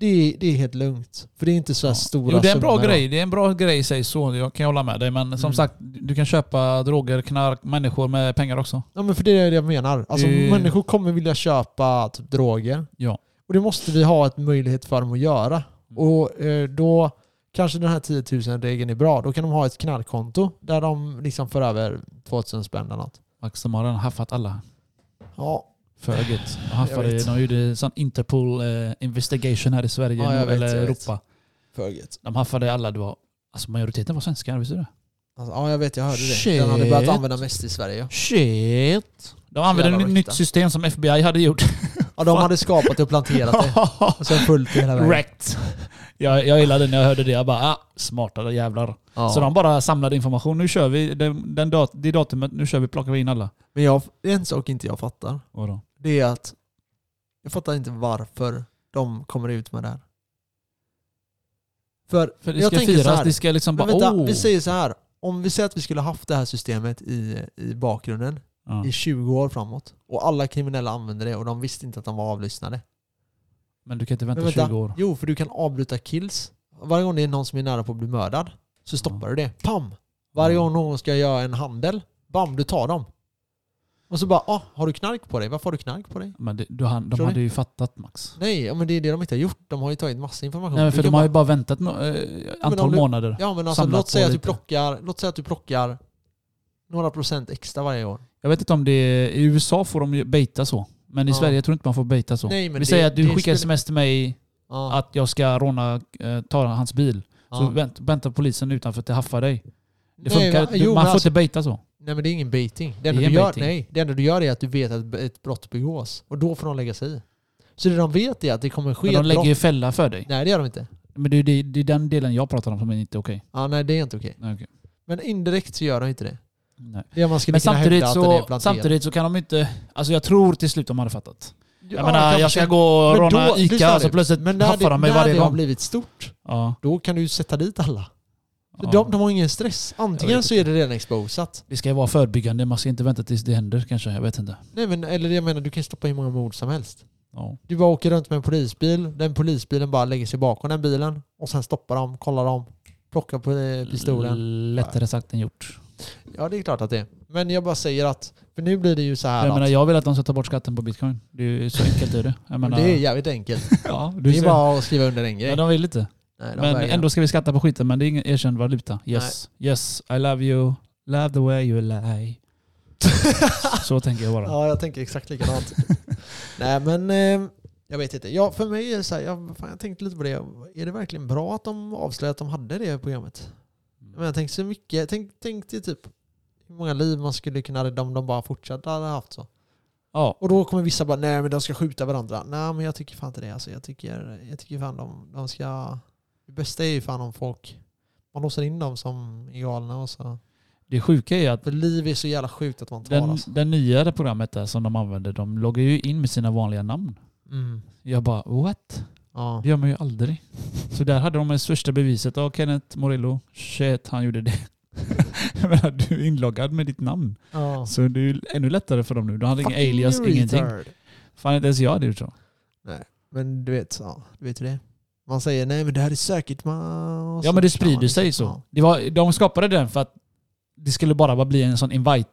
Speaker 1: det är, det är helt lugnt. För det är inte så här
Speaker 2: Ja.
Speaker 1: stora
Speaker 2: Jo, det är en bra
Speaker 1: summor.
Speaker 2: grej. Det är en bra grej sägs så. Jag kan hålla med dig. Men som
Speaker 1: Mm.
Speaker 2: sagt, du kan köpa droger, knark, människor med pengar också.
Speaker 1: Ja men för det är det jag menar. Alltså
Speaker 2: Det-
Speaker 1: människor kommer vilja köpa typ droger.
Speaker 2: Ja. Mm.
Speaker 1: Och det måste vi ha ett möjlighet för dem att göra. Och eh, då kanske den här 10 000-regeln är bra. Då kan de ha ett knarkkonto där de liksom för över 2000 spänn eller något.
Speaker 2: Max, de har redan haffat alla.
Speaker 1: Ja,
Speaker 2: Föget. De haffade,
Speaker 1: vet.
Speaker 2: de gjorde sån Interpol eh, investigation här i Sverige
Speaker 1: Ja, jag vet,
Speaker 2: eller
Speaker 1: jag vet.
Speaker 2: Europa.
Speaker 1: föget.
Speaker 2: De haffade alla. Det var, alltså majoriteten var svenskar, visste du det?
Speaker 1: Alltså, ja, jag vet. Jag hörde det.
Speaker 2: Shit.
Speaker 1: Den hade börjat använda mest i Sverige.
Speaker 2: Shit! De använde
Speaker 1: Jävla
Speaker 2: ett
Speaker 1: skit,
Speaker 2: nytt
Speaker 1: då.
Speaker 2: system som FBI
Speaker 1: <laughs>
Speaker 2: hade gjort.
Speaker 1: Ja, de hade skapat det och planterat <laughs> det.
Speaker 2: <laughs>
Speaker 1: Alltså, Och sen fullt hela vägen.
Speaker 2: Wrecked. Jag, jag gillade när jag hörde det. Jag bara, ah, smartare jävlar.
Speaker 1: Ja.
Speaker 2: Så de bara samlade information. Nu kör vi, den, den dat det datumet, nu kör vi, plockar vi in alla.
Speaker 1: Men jag, en sak inte jag fattar,
Speaker 2: Vadå?
Speaker 1: det är att jag fattar inte varför de kommer ut med det här. För,
Speaker 2: För det
Speaker 1: jag
Speaker 2: ska
Speaker 1: tänker så
Speaker 2: firas,
Speaker 1: här.
Speaker 2: det ska liksom
Speaker 1: Men
Speaker 2: bara...
Speaker 1: vänta,
Speaker 2: oh.
Speaker 1: vi säger så här. Om vi säger att vi skulle haft det här systemet i, i bakgrunden
Speaker 2: ja.
Speaker 1: i 20 år framåt och alla kriminella använde det och de visste inte att de var avlyssnade.
Speaker 2: Men du kan inte
Speaker 1: Men
Speaker 2: vänta,
Speaker 1: vänta,
Speaker 2: 20 år.
Speaker 1: Jo, för du kan avbryta kills. Varje gång det är någon som är nära på att bli mördad så stoppar du det. Pam! Varje
Speaker 2: Ja.
Speaker 1: gång någon ska göra en handel, bam, du tar dem. Och så bara, ah, har du knark på dig? Varför har du knark på dig?
Speaker 2: Men det, du, han, de
Speaker 1: Tror ni?
Speaker 2: hade ju fattat Max.
Speaker 1: Nej, ja, men det är det de inte har gjort. De har ju tagit massa information.
Speaker 2: Nej, men
Speaker 1: Du
Speaker 2: för
Speaker 1: kan
Speaker 2: de
Speaker 1: bara-
Speaker 2: har ju bara väntat med, eh, antal
Speaker 1: om du-
Speaker 2: månader.
Speaker 1: Ja men alltså,
Speaker 2: samlat
Speaker 1: låt säga,
Speaker 2: på
Speaker 1: att du
Speaker 2: lite.
Speaker 1: plockar, låt säga att du plockar några procent extra varje år.
Speaker 2: Jag vet inte om det är, I USA får de ju baita så. Men i
Speaker 1: Ja.
Speaker 2: Sverige tror jag inte man får baita så.
Speaker 1: Nej, men
Speaker 2: Vi
Speaker 1: det-
Speaker 2: säger att du
Speaker 1: det
Speaker 2: skickar
Speaker 1: skulle-
Speaker 2: sms till mig
Speaker 1: Ja,
Speaker 2: att jag ska råna, eh, ta hans bil.
Speaker 1: ja.
Speaker 2: Så vänt, väntar polisen utanför att haffa dig. Det
Speaker 1: Nej,
Speaker 2: funkar,
Speaker 1: men-
Speaker 2: du,
Speaker 1: jo,
Speaker 2: man
Speaker 1: men
Speaker 2: får
Speaker 1: alltså-
Speaker 2: inte baita så.
Speaker 1: Nej men det är ingen baiting. Det
Speaker 2: Det
Speaker 1: enda,
Speaker 2: är
Speaker 1: du
Speaker 2: en
Speaker 1: gör,
Speaker 2: baiting.
Speaker 1: nej, det enda du gör är att du vet att ett brott begås. Och då får de lägga sig i. Så det de vet är att det kommer ske
Speaker 2: Men de
Speaker 1: ett
Speaker 2: lägger
Speaker 1: brott.
Speaker 2: ju fälla för dig.
Speaker 1: Nej det gör de inte.
Speaker 2: Men det, är- det, är- det är den delen jag pratar om som är inte okej.
Speaker 1: Ja, nej det är inte okej.
Speaker 2: Nej, okej.
Speaker 1: Men indirekt så gör de inte det.
Speaker 2: Nej.
Speaker 1: Det är man skulle
Speaker 2: Men
Speaker 1: kunna
Speaker 2: samtidigt
Speaker 1: hävda att den är
Speaker 2: så,
Speaker 1: planterad.
Speaker 2: samtidigt så kan de inte... Alltså jag tror till slut de hade fattat.
Speaker 1: Ja,
Speaker 2: Jag menar,
Speaker 1: kanske.
Speaker 2: jag ska gå och
Speaker 1: Men
Speaker 2: råna
Speaker 1: då- lyssna
Speaker 2: Ica
Speaker 1: här
Speaker 2: så
Speaker 1: nu.
Speaker 2: plötsligt
Speaker 1: Men när
Speaker 2: haffar
Speaker 1: det,
Speaker 2: de mig
Speaker 1: när
Speaker 2: varje
Speaker 1: det har
Speaker 2: gång.
Speaker 1: blivit stort,
Speaker 2: Ja,
Speaker 1: då kan du ju sätta dit alla.
Speaker 2: ja.
Speaker 1: De, de har ingen stress.
Speaker 2: Jag
Speaker 1: Antingen
Speaker 2: vet
Speaker 1: så är det redan exposat.
Speaker 2: Det ska ju vara förebyggande, man ska inte vänta tills det händer kanske. Jag vet inte.
Speaker 1: Nej men eller jag menar, du kan stoppa hur många mord som helst.
Speaker 2: Ja.
Speaker 1: Du bara åker runt med en polisbil, den polisbilen bara lägger sig bakom den bilen och sen stoppar de, kollar dem, plockar på eh, pistolen.
Speaker 2: Lättare sagt än gjort.
Speaker 1: Ja det är klart att det är. Men jag bara säger att, för nu blir det ju så här
Speaker 2: Jag, menar,
Speaker 1: att
Speaker 2: jag vill att de ska ta bort skatten på bitcoin. Det är ju så enkelt är det. Jag menar,
Speaker 1: det är jävligt enkelt.
Speaker 2: ja, du
Speaker 1: Det är
Speaker 2: ser.
Speaker 1: bara att skriva under en grej.
Speaker 2: Men de vill inte.
Speaker 1: Nej, de
Speaker 2: Men
Speaker 1: vägrar.
Speaker 2: ändå ska vi skatta på skiten, men det är ingen erkänd valuta. Yes. Yes, I love you. Love the way you lie.
Speaker 1: <laughs>
Speaker 2: så tänker jag bara.
Speaker 1: Ja, jag tänker exakt likadant. Nej, men eh, jag vet inte. Ja, för mig är det så här, jag, fan, jag tänkte lite på det. Är det verkligen bra att de avslöjade att de hade det programmet? Men jag tänkte så mycket. Tänk, tänk dig typ hur många liv man skulle kunna rädda om de bara fortsatte hade haft så.
Speaker 2: Ja,
Speaker 1: Och då kommer vissa bara, nej men de ska skjuta varandra. Nej men jag tycker fan inte det. Alltså, jag, tycker, jag tycker fan de, de ska... Det bästa är ju fan om folk... Man låser in dem som är galna och så.
Speaker 2: det sjuka är att
Speaker 1: För liv är så jävla sjukt att man tar
Speaker 2: den,
Speaker 1: alltså.
Speaker 2: den nyare programmet där som de använder, de loggar ju in med sina vanliga namn.
Speaker 1: Mm.
Speaker 2: Jag bara what?
Speaker 1: Ja.
Speaker 2: Det gör man ju aldrig. Så där hade de det största beviset. Ja, Kenneth Morillo, shit han gjorde det. <laughs> Jag menar, du är inloggad med ditt namn.
Speaker 1: ja.
Speaker 2: Så det är ju ännu lättare för dem nu. De hade ingen
Speaker 1: Fucking Alltså,
Speaker 2: alias,
Speaker 1: retard.
Speaker 2: ingenting. Fan inte ens jag hade gjort så.
Speaker 1: Men du vet, ja, du vet ju det. Man säger nej men det här är säkert man... och
Speaker 2: Ja
Speaker 1: så
Speaker 2: men det
Speaker 1: kör man
Speaker 2: sprider sig
Speaker 1: liksom.
Speaker 2: så. Det var, de skapade den för att det skulle bara bara bli en sån invite.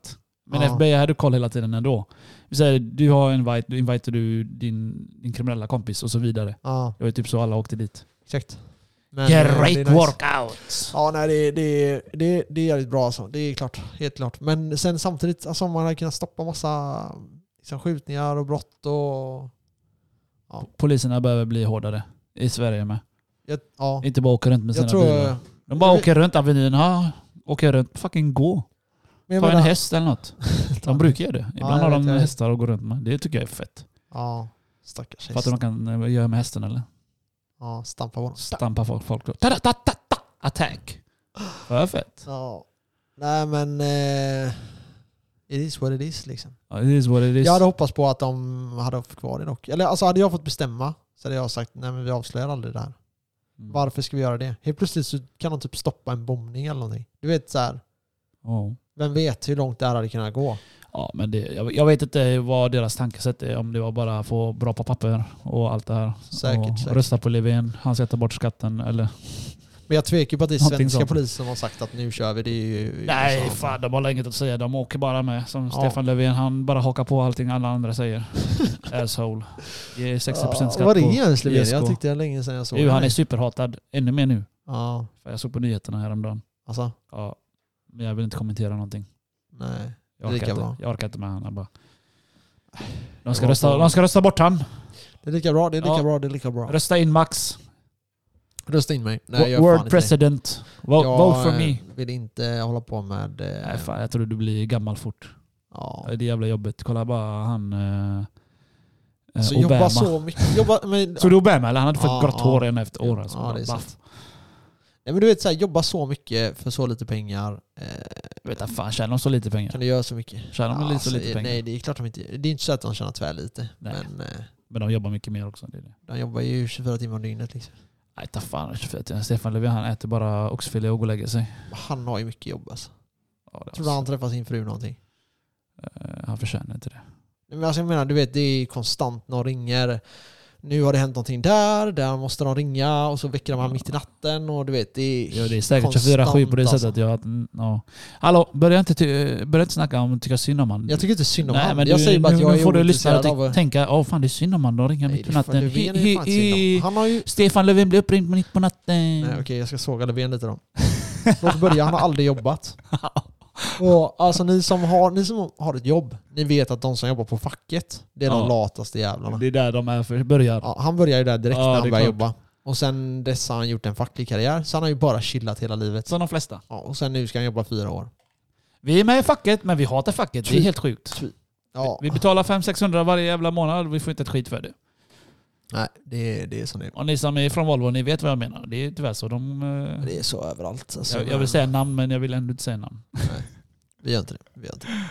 Speaker 2: Men
Speaker 1: Ja.
Speaker 2: FBI hade koll hela tiden ändå. Vi säger, du har en invite, du inviterar du din, din kriminella kompis och så vidare.
Speaker 1: Ja,
Speaker 2: Det var ju typ så alla åkte dit.
Speaker 1: exakt. Men, eh, det är
Speaker 2: Great
Speaker 1: nice.
Speaker 2: workout!
Speaker 1: Ja nej det, det, det, det är jävligt bra alltså. Det är klart. Helt klart. Men sen samtidigt, alltså om man hade kunnat stoppa massa liksom, skjutningar och brott och...
Speaker 2: Poliserna behöver bli hårdare. I Sverige med.
Speaker 1: Ja. ja.
Speaker 2: Inte bara åka runt med sina
Speaker 1: Jag tror...
Speaker 2: bilar. De bara
Speaker 1: jag vet-
Speaker 2: åker runt Avenyn. Ja, åker runt. Fucking gå.
Speaker 1: Men jag
Speaker 2: Ta en
Speaker 1: menar,
Speaker 2: häst eller
Speaker 1: <laughs>
Speaker 2: något. De brukar göra det. Ibland
Speaker 1: jag
Speaker 2: har
Speaker 1: vet,
Speaker 2: de
Speaker 1: jag vet.
Speaker 2: hästar att gå runt med. Det tycker jag är fett.
Speaker 1: Ja. Stackars häst.
Speaker 2: Fattar du vad de kan eh, göra med hästen eller?
Speaker 1: Ja, stampa på dem.
Speaker 2: Stampa folk. folk. Ta, ta, ta, ta, ta. Attack. Vad fett.
Speaker 1: Ja. Nej men... Eh, it is what it is liksom.
Speaker 2: Ja, It is what it is.
Speaker 1: Jag hade hoppats på att de hade haft kvar det dock. Eller alltså hade jag fått bestämma så hade jag sagt nej men vi avslöjar aldrig det här.
Speaker 2: Mm.
Speaker 1: Varför ska vi göra det? Helt plötsligt så kan de typ stoppa en bombning eller någonting. Du vet så här,
Speaker 2: Ja.
Speaker 1: vem vet hur långt det här hade kunnat gå?
Speaker 2: Ja, men det, jag, jag vet inte vad deras tankesätt är. Om det var bara att få bra på papper och allt det här.
Speaker 1: Säkert,
Speaker 2: och
Speaker 1: säkert.
Speaker 2: Rösta på Löfven. Han ska ta bort skatten. Eller?
Speaker 1: Men jag tvekar ju på att det är
Speaker 2: Någonting
Speaker 1: svenska
Speaker 2: sånt.
Speaker 1: polisen som har sagt att nu kör vi. Det är ju liksom-
Speaker 2: Nej,
Speaker 1: USA.
Speaker 2: fan, de har inget att säga. De åker bara med. Som
Speaker 1: Ja.
Speaker 2: Stefan Löfven. Han bara hakar på allting alla andra säger. <laughs> Asshole. Det är 60%
Speaker 1: Ja,
Speaker 2: skatt
Speaker 1: Vad
Speaker 2: på...
Speaker 1: är ens Löfven? Jag
Speaker 2: ISK.
Speaker 1: tyckte det var länge sedan jag såg
Speaker 2: Jo, han är
Speaker 1: det.
Speaker 2: superhatad. Ännu mer nu.
Speaker 1: Ja,
Speaker 2: För jag såg på nyheterna häromdagen.
Speaker 1: alltså.
Speaker 2: Ja, men jag vill inte kommentera någonting.
Speaker 1: Nej.
Speaker 2: Jag
Speaker 1: Det är
Speaker 2: orkar,
Speaker 1: lika bra.
Speaker 2: inte, jag orkar inte med honom bara. De
Speaker 1: Jag
Speaker 2: ska,
Speaker 1: var
Speaker 2: rösta,
Speaker 1: på-
Speaker 2: de ska rösta bort han.
Speaker 1: Det är lika bra, det är lika
Speaker 2: Ja.
Speaker 1: bra, det är lika bra.
Speaker 2: Rösta in Max.
Speaker 1: Rösta in mig. Nej, jag gör fan
Speaker 2: World
Speaker 1: inte det.
Speaker 2: president. Vote, vote for
Speaker 1: eh,
Speaker 2: me.
Speaker 1: vill inte hålla på med... eh,
Speaker 2: Nej, fan, jag tror du blir gammal fort.
Speaker 1: ja.
Speaker 2: Det är jävla jobbigt. Kolla bara han... Eh, eh,
Speaker 1: Så
Speaker 2: Obama.
Speaker 1: Alltså, jobba så mycket. Jobba,
Speaker 2: <laughs>
Speaker 1: men,
Speaker 2: Såg du Obama? Eller? Han hade fått
Speaker 1: Ja,
Speaker 2: grått
Speaker 1: ja.
Speaker 2: hår en efter år. Alltså.
Speaker 1: Ah, Ja, det är
Speaker 2: Bara,
Speaker 1: sant. nej, men du vet, så här, jobba så mycket för så lite pengar. Eh,
Speaker 2: jag vet inte, fan tjänar de så lite pengar?
Speaker 1: Kan du göra så mycket?
Speaker 2: Tjänar de lite, så
Speaker 1: Alltså,
Speaker 2: lite pengar?
Speaker 1: Nej, det är klart de inte Det är inte så att de tjänar tvär lite.
Speaker 2: Nej.
Speaker 1: Men eh,
Speaker 2: Men de jobbar mycket mer också. Det är det.
Speaker 1: de jobbar ju 24 timmar om dygnet. Liksom.
Speaker 2: Nej, ta fan. 24. Stefan Löfven han äter bara oxfilé och går och lägger sig.
Speaker 1: Han har ju mycket jobb alltså.
Speaker 2: Ja, det är
Speaker 1: Tror du han träffar sin fru någonting?
Speaker 2: Eh, Han förtjänar inte det.
Speaker 1: Nej, Men alltså, jag menar, du vet, det är konstant. Någon ringer. nu har det hänt någonting där, där måste de ringa och så väcker de här mitt i natten och du vet det är
Speaker 2: Ja, det är säkert
Speaker 1: konstant,
Speaker 2: 24-7 på det
Speaker 1: alltså.
Speaker 2: sättet. Jag, ja. Hallå, börja inte, ty- eh, börja inte snacka om att tycka synd om han.
Speaker 1: Jag tycker inte synd om
Speaker 2: Nej,
Speaker 1: han.
Speaker 2: men
Speaker 1: jag
Speaker 2: du,
Speaker 1: säger bara
Speaker 2: nu,
Speaker 1: att jag
Speaker 2: nu
Speaker 1: är
Speaker 2: får du lyssna och
Speaker 1: ointresserad
Speaker 2: ty-
Speaker 1: av...
Speaker 2: tänka, åh fan det är synd om han, de ringer
Speaker 1: Nej,
Speaker 2: mitt på
Speaker 1: det är fan-
Speaker 2: natten.
Speaker 1: Löfven är
Speaker 2: Hi-
Speaker 1: ju fan
Speaker 2: hi-
Speaker 1: synd om. Han har ju...
Speaker 2: Stefan Löfven blir uppringd mitt på natten.
Speaker 1: Nej, okej, jag ska såga Löfven lite då. Låt börja, han har aldrig
Speaker 2: <laughs>
Speaker 1: jobbat. Och alltså ni som, har, ni som har ett jobb, ni vet att de som jobbar på facket, det är
Speaker 2: Ja.
Speaker 1: de lataste jävlarna.
Speaker 2: Det är där de är för börjar.
Speaker 1: Ja, han började ju där direkt
Speaker 2: Ja,
Speaker 1: när
Speaker 2: det
Speaker 1: han
Speaker 2: är
Speaker 1: började
Speaker 2: klart.
Speaker 1: jobba. Och sen dess har han gjort en facklig karriär, så han har ju bara chillat hela livet.
Speaker 2: Som de flesta.
Speaker 1: Ja, och sen nu ska han jobba fyra år.
Speaker 2: Vi är med i facket, men vi hatar facket. Det är
Speaker 1: Ty-
Speaker 2: helt sjukt.
Speaker 1: Ja,
Speaker 2: Vi betalar 500-600 varje jävla månad vi får inte ett skit för det.
Speaker 1: nej, det, är- det är som det är.
Speaker 2: Och ni som är från Volvo, ni vet vad jag menar. Det är tyvärr så. De, eh,
Speaker 1: Det är så överallt. Alltså,
Speaker 2: jag, jag vill säga namn, men jag vill ändå inte säga namn.
Speaker 1: Vi gör inte det. Vi gör inte det.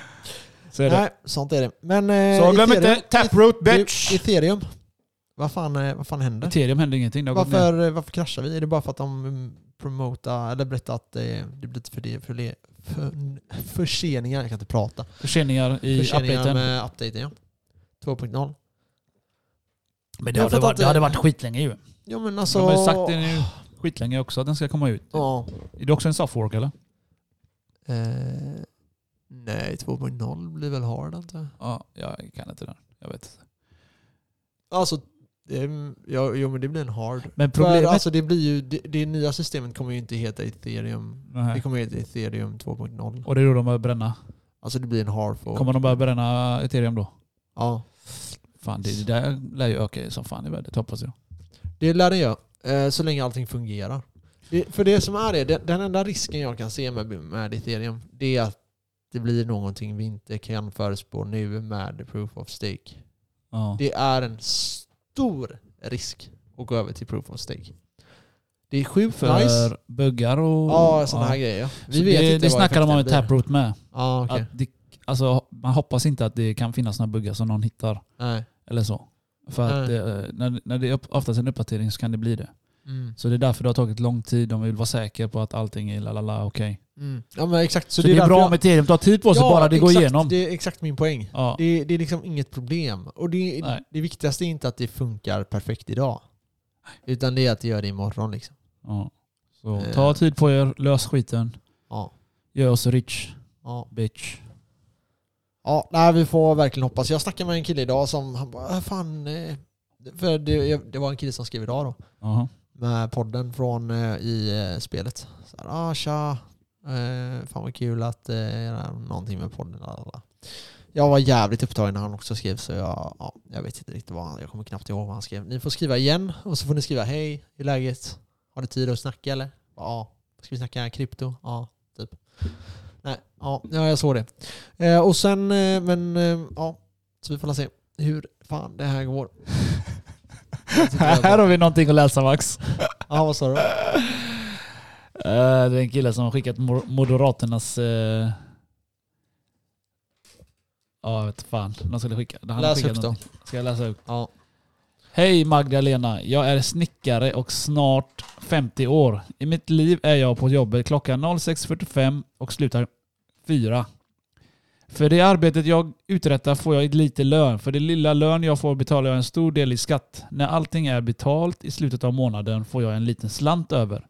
Speaker 2: Så är det.
Speaker 1: Nej, sånt är det. Men... eh,
Speaker 2: Så glöm
Speaker 1: Ethereum-
Speaker 2: inte, Taproot bitch!
Speaker 1: Du, Ethereum. Vad fan, eh, vad fan händer?
Speaker 2: Ethereum händer ingenting. Det har gått ner.
Speaker 1: Varför, varför kraschar vi? Är det bara för att de mm, promotar eller berättar att eh, det blir lite för det, för det, för, förseningar? Jag kan inte prata.
Speaker 2: Förseningar i
Speaker 1: Förseningar
Speaker 2: updaten.
Speaker 1: med updaten, ja. 2.0.
Speaker 2: Men
Speaker 1: Jag fattar inte.
Speaker 2: varit skitlänge ju.
Speaker 1: Ja men
Speaker 2: Så...
Speaker 1: alltså...
Speaker 2: De har ju sagt det nu skitlänge också att den ska komma ut.
Speaker 1: Ja.
Speaker 2: Är det också en softwork eller?
Speaker 1: Eh, nej, 2.0 blir väl hard inte?
Speaker 2: Ja, jag kan inte den. Jag vet inte.
Speaker 1: Alltså, ehm, ja, jo men det blir en hard.
Speaker 2: Men
Speaker 1: Problemet...
Speaker 2: problemet...
Speaker 1: För, alltså det blir ju, det, det nya systemet kommer ju inte heta ethereum.
Speaker 2: Nej.
Speaker 1: Det kommer heta ethereum 2.0.
Speaker 2: Och det är då de börjar bränna.
Speaker 1: Alltså det blir en hard fork.
Speaker 2: Kommer de börja bränna ethereum då?
Speaker 1: Ja.
Speaker 2: Fan, det, det där lär ju öka som fan i värdet hoppas jag.
Speaker 1: Det lär den göra, eh, så länge allting fungerar. Det, för det som är det, den, den enda risken jag kan se med, med ethereum, det är att det blir någonting vi inte kan förespå nu med proof of stake.
Speaker 2: Ja.
Speaker 1: Det är en stor risk att gå över till proof of stake. Det är sjukt
Speaker 2: För
Speaker 1: nice.
Speaker 2: buggar och...
Speaker 1: Ja, sådana här grejer. ja. Vi
Speaker 2: Så
Speaker 1: vet
Speaker 2: det,
Speaker 1: inte
Speaker 2: det
Speaker 1: vad
Speaker 2: snackar de om i
Speaker 1: effekten blir.
Speaker 2: Taproot med.
Speaker 1: Ja, okej.
Speaker 2: Att det, alltså, man hoppas inte att det kan finnas några buggar som någon hittar.
Speaker 1: Nej.
Speaker 2: Eller så. För att
Speaker 1: Nej.
Speaker 2: eh, när, när det är upp- oftast en uppdatering så kan det bli det.
Speaker 1: Mm.
Speaker 2: Så det är därför det har tagit lång tid. De vill vara säkra på att allting är lalala okej.
Speaker 1: Mm. Ja, men exakt.
Speaker 2: Så, det är
Speaker 1: därför
Speaker 2: bra
Speaker 1: jag-
Speaker 2: med ethereum. Ta tid på sig
Speaker 1: Ja,
Speaker 2: bara det går
Speaker 1: exakt.
Speaker 2: igenom.
Speaker 1: Det är exakt min poäng.
Speaker 2: ja.
Speaker 1: Det, det är liksom inget problem. Och det,
Speaker 2: Nej.
Speaker 1: det viktigaste är inte att det funkar perfekt idag. Utan det är att det gör det imorgon liksom.
Speaker 2: Ja. Så
Speaker 1: Eh.
Speaker 2: ta tid på er. Lös skiten.
Speaker 1: Ja.
Speaker 2: Gör oss rich.
Speaker 1: Ja,
Speaker 2: Bitch.
Speaker 1: ja nej, vi får verkligen hoppas. Jag snackade med en kille idag som, han bara, "Äh, fan, eh," för det, jag- det var en kille som skrev idag då,
Speaker 2: Jaha.
Speaker 1: med podden från eh, i eh, spelet. Så här, ah, tja, eh, fan vad kul att eh, göra någonting med podden. Lalala. Jag var jävligt upptagen när han också skrev så jag, ja, jag vet inte riktigt vad han, jag kommer knappt ihåg vad han skrev. Ni får skriva igen och så får ni skriva hej, hur är läget? Har du tid att snacka eller? Ja. Ska vi snacka krypto? Ja, typ. Nej, ja, ja jag såg det. Eh, och sen, eh, men eh, ja, så vi får la se hur fan det här
Speaker 2: <laughs>
Speaker 1: går. Jag tycker jag-
Speaker 2: Här
Speaker 1: <laughs>
Speaker 2: har vi någonting att läsa Max.
Speaker 1: Ja, vad sa du?
Speaker 2: Eh, det är en kille som har skickat mor- Moderaternas... eh, Ja, jag vet fan. Någon skulle skicka. han har
Speaker 1: Läs
Speaker 2: skickat
Speaker 1: upp då.
Speaker 2: någonting. Ska jag läsa upp?
Speaker 1: Ja.
Speaker 2: Hej Magdalena, jag är snickare och snart 50 år. I mitt liv är jag på jobbet klockan 06.45 och slutar 4. För det arbetet jag uträttar får jag lite lön. För det lilla lön jag får betalar jag en stor del i skatt. När allting är betalt i slutet av månaden får jag en liten slant över.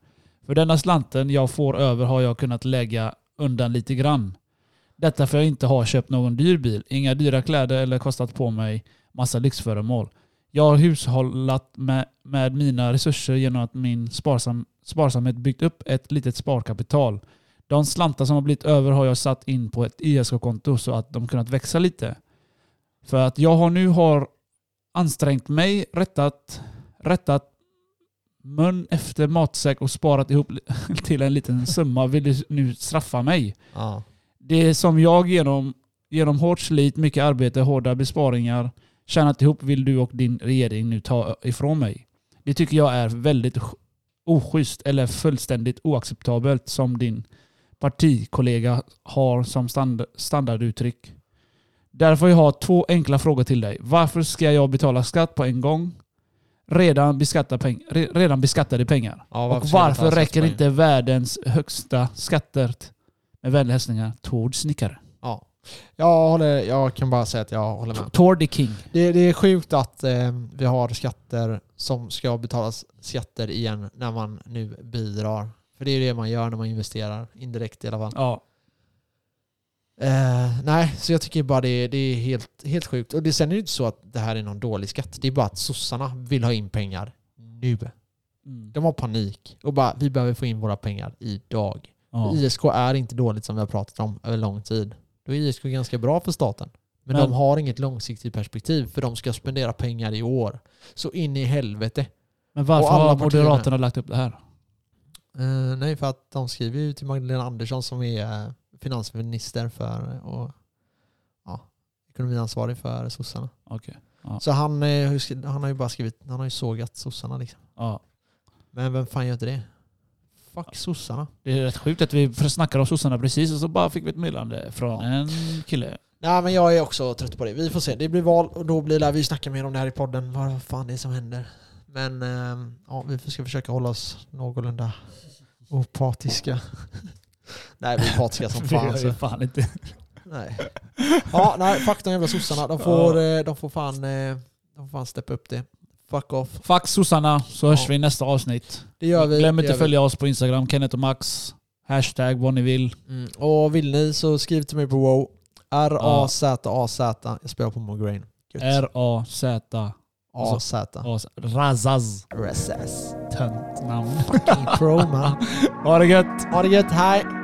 Speaker 2: För denna slanten jag får över har jag kunnat lägga undan lite grann. Detta för jag inte har köpt någon dyr bil, inga dyra kläder eller kostat på mig massa lyxföremål. Jag har hushållat med, med mina resurser genom att min sparsam, sparsamhet byggt upp ett litet sparkapital. De slantar som har blivit över har jag satt in på ett ISK-konto så att de kunnat växa lite. För att jag har nu har ansträngt mig, rättat, rättat mun efter matsäck och sparat ihop <laughs> li- till en liten summa vill du nu straffa mig.
Speaker 1: Ja.
Speaker 2: Det som jag genom, genom hårt slit, mycket arbete, hårda besparingar tjänat ihop vill du och din regering nu ta ifrån mig. Det tycker jag är väldigt sch- oschysst eller fullständigt oacceptabelt som din partikollega har som stand, standarduttryck. Därför har jag två enkla frågor till dig. Varför ska jag betala skatt på en gång? Redan, beskatta peng, re- redan beskattade pengar.
Speaker 1: Ja,
Speaker 2: och
Speaker 1: ska jag
Speaker 2: varför
Speaker 1: ta
Speaker 2: räcker
Speaker 1: satspoäng?
Speaker 2: inte världens högsta skatter? Med vänliga hälsningar, Tord Snickare.
Speaker 1: Ja. Jag, håller, jag kan bara säga att jag håller med.
Speaker 2: Tor the King.
Speaker 1: Det, det är sjukt att eh, vi har skatter som ska betalas skatter igen när man nu bidrar. För det är ju det man gör när man investerar, indirekt i alla fall.
Speaker 2: Ja.
Speaker 1: Eh, nej, så jag tycker bara det, det är helt, helt sjukt. Och det, sen är det ju inte så att det här är någon dålig skatt. Det är bara att sossarna vill ha in pengar nu.
Speaker 2: Mm.
Speaker 1: De har panik och bara vi behöver få in våra pengar idag.
Speaker 2: ja.
Speaker 1: ISK är inte dåligt som vi har pratat om över lång tid. Då är ISK ganska bra för staten. Men,
Speaker 2: Men-
Speaker 1: de har inget långsiktigt perspektiv för de ska spendera pengar i år. Så in i helvete.
Speaker 2: Men varför
Speaker 1: Och alla
Speaker 2: har
Speaker 1: partierna.
Speaker 2: Moderaterna lagt upp det här?
Speaker 1: Eh, nej, för att de skriver ju till Magdalena Andersson som är eh, finansminister för och ja, ekonomiansvarig för sossarna.
Speaker 2: Okej. Ja.
Speaker 1: Så han, eh, hur ska- han har ju bara skrivit, han har ju sågat sossarna liksom.
Speaker 2: Ja.
Speaker 1: Men vem fan gör inte det? Fuck sossarna.
Speaker 2: Det är rätt sjukt att vi snackade om sossarna precis och så bara fick vi ett meddelande från en kille.
Speaker 1: Nej men jag är också trött på det. Vi får se. Det blir val och då blir lär vi snacka mer om det här i podden. Vad fan det är som händer. Men eh, ja, vi ska försöka hålla oss någorlunda opatiska. <laughs> Nej vi är patiska
Speaker 2: <laughs>
Speaker 1: som
Speaker 2: Det
Speaker 1: fan.
Speaker 2: gör
Speaker 1: Alltså.
Speaker 2: ju fan inte.
Speaker 1: Nej. Ja, nej, fuck de jävla sossarna. De får, eh, de får fan, eh, de får fan steppa upp det. Fuck off.
Speaker 2: Fuck sossarna så hörs
Speaker 1: Ja.
Speaker 2: vi i nästa avsnitt.
Speaker 1: Det gör vi.
Speaker 2: Glöm
Speaker 1: det
Speaker 2: inte
Speaker 1: gör vi.
Speaker 2: följa oss på Instagram, Kenneth och Max. Hashtag vad ni vill.
Speaker 1: Mm. Och vill ni så skriv till mig på wow. R-A-Z-A-Z. Jag spelar på Mograin.
Speaker 2: R-A-Z-A-Z.
Speaker 1: A-Z.
Speaker 2: Razaz.
Speaker 1: RSS.
Speaker 2: Töntnamn.
Speaker 1: Pro man.
Speaker 2: Ha det gött!
Speaker 1: Ha det gött, hej!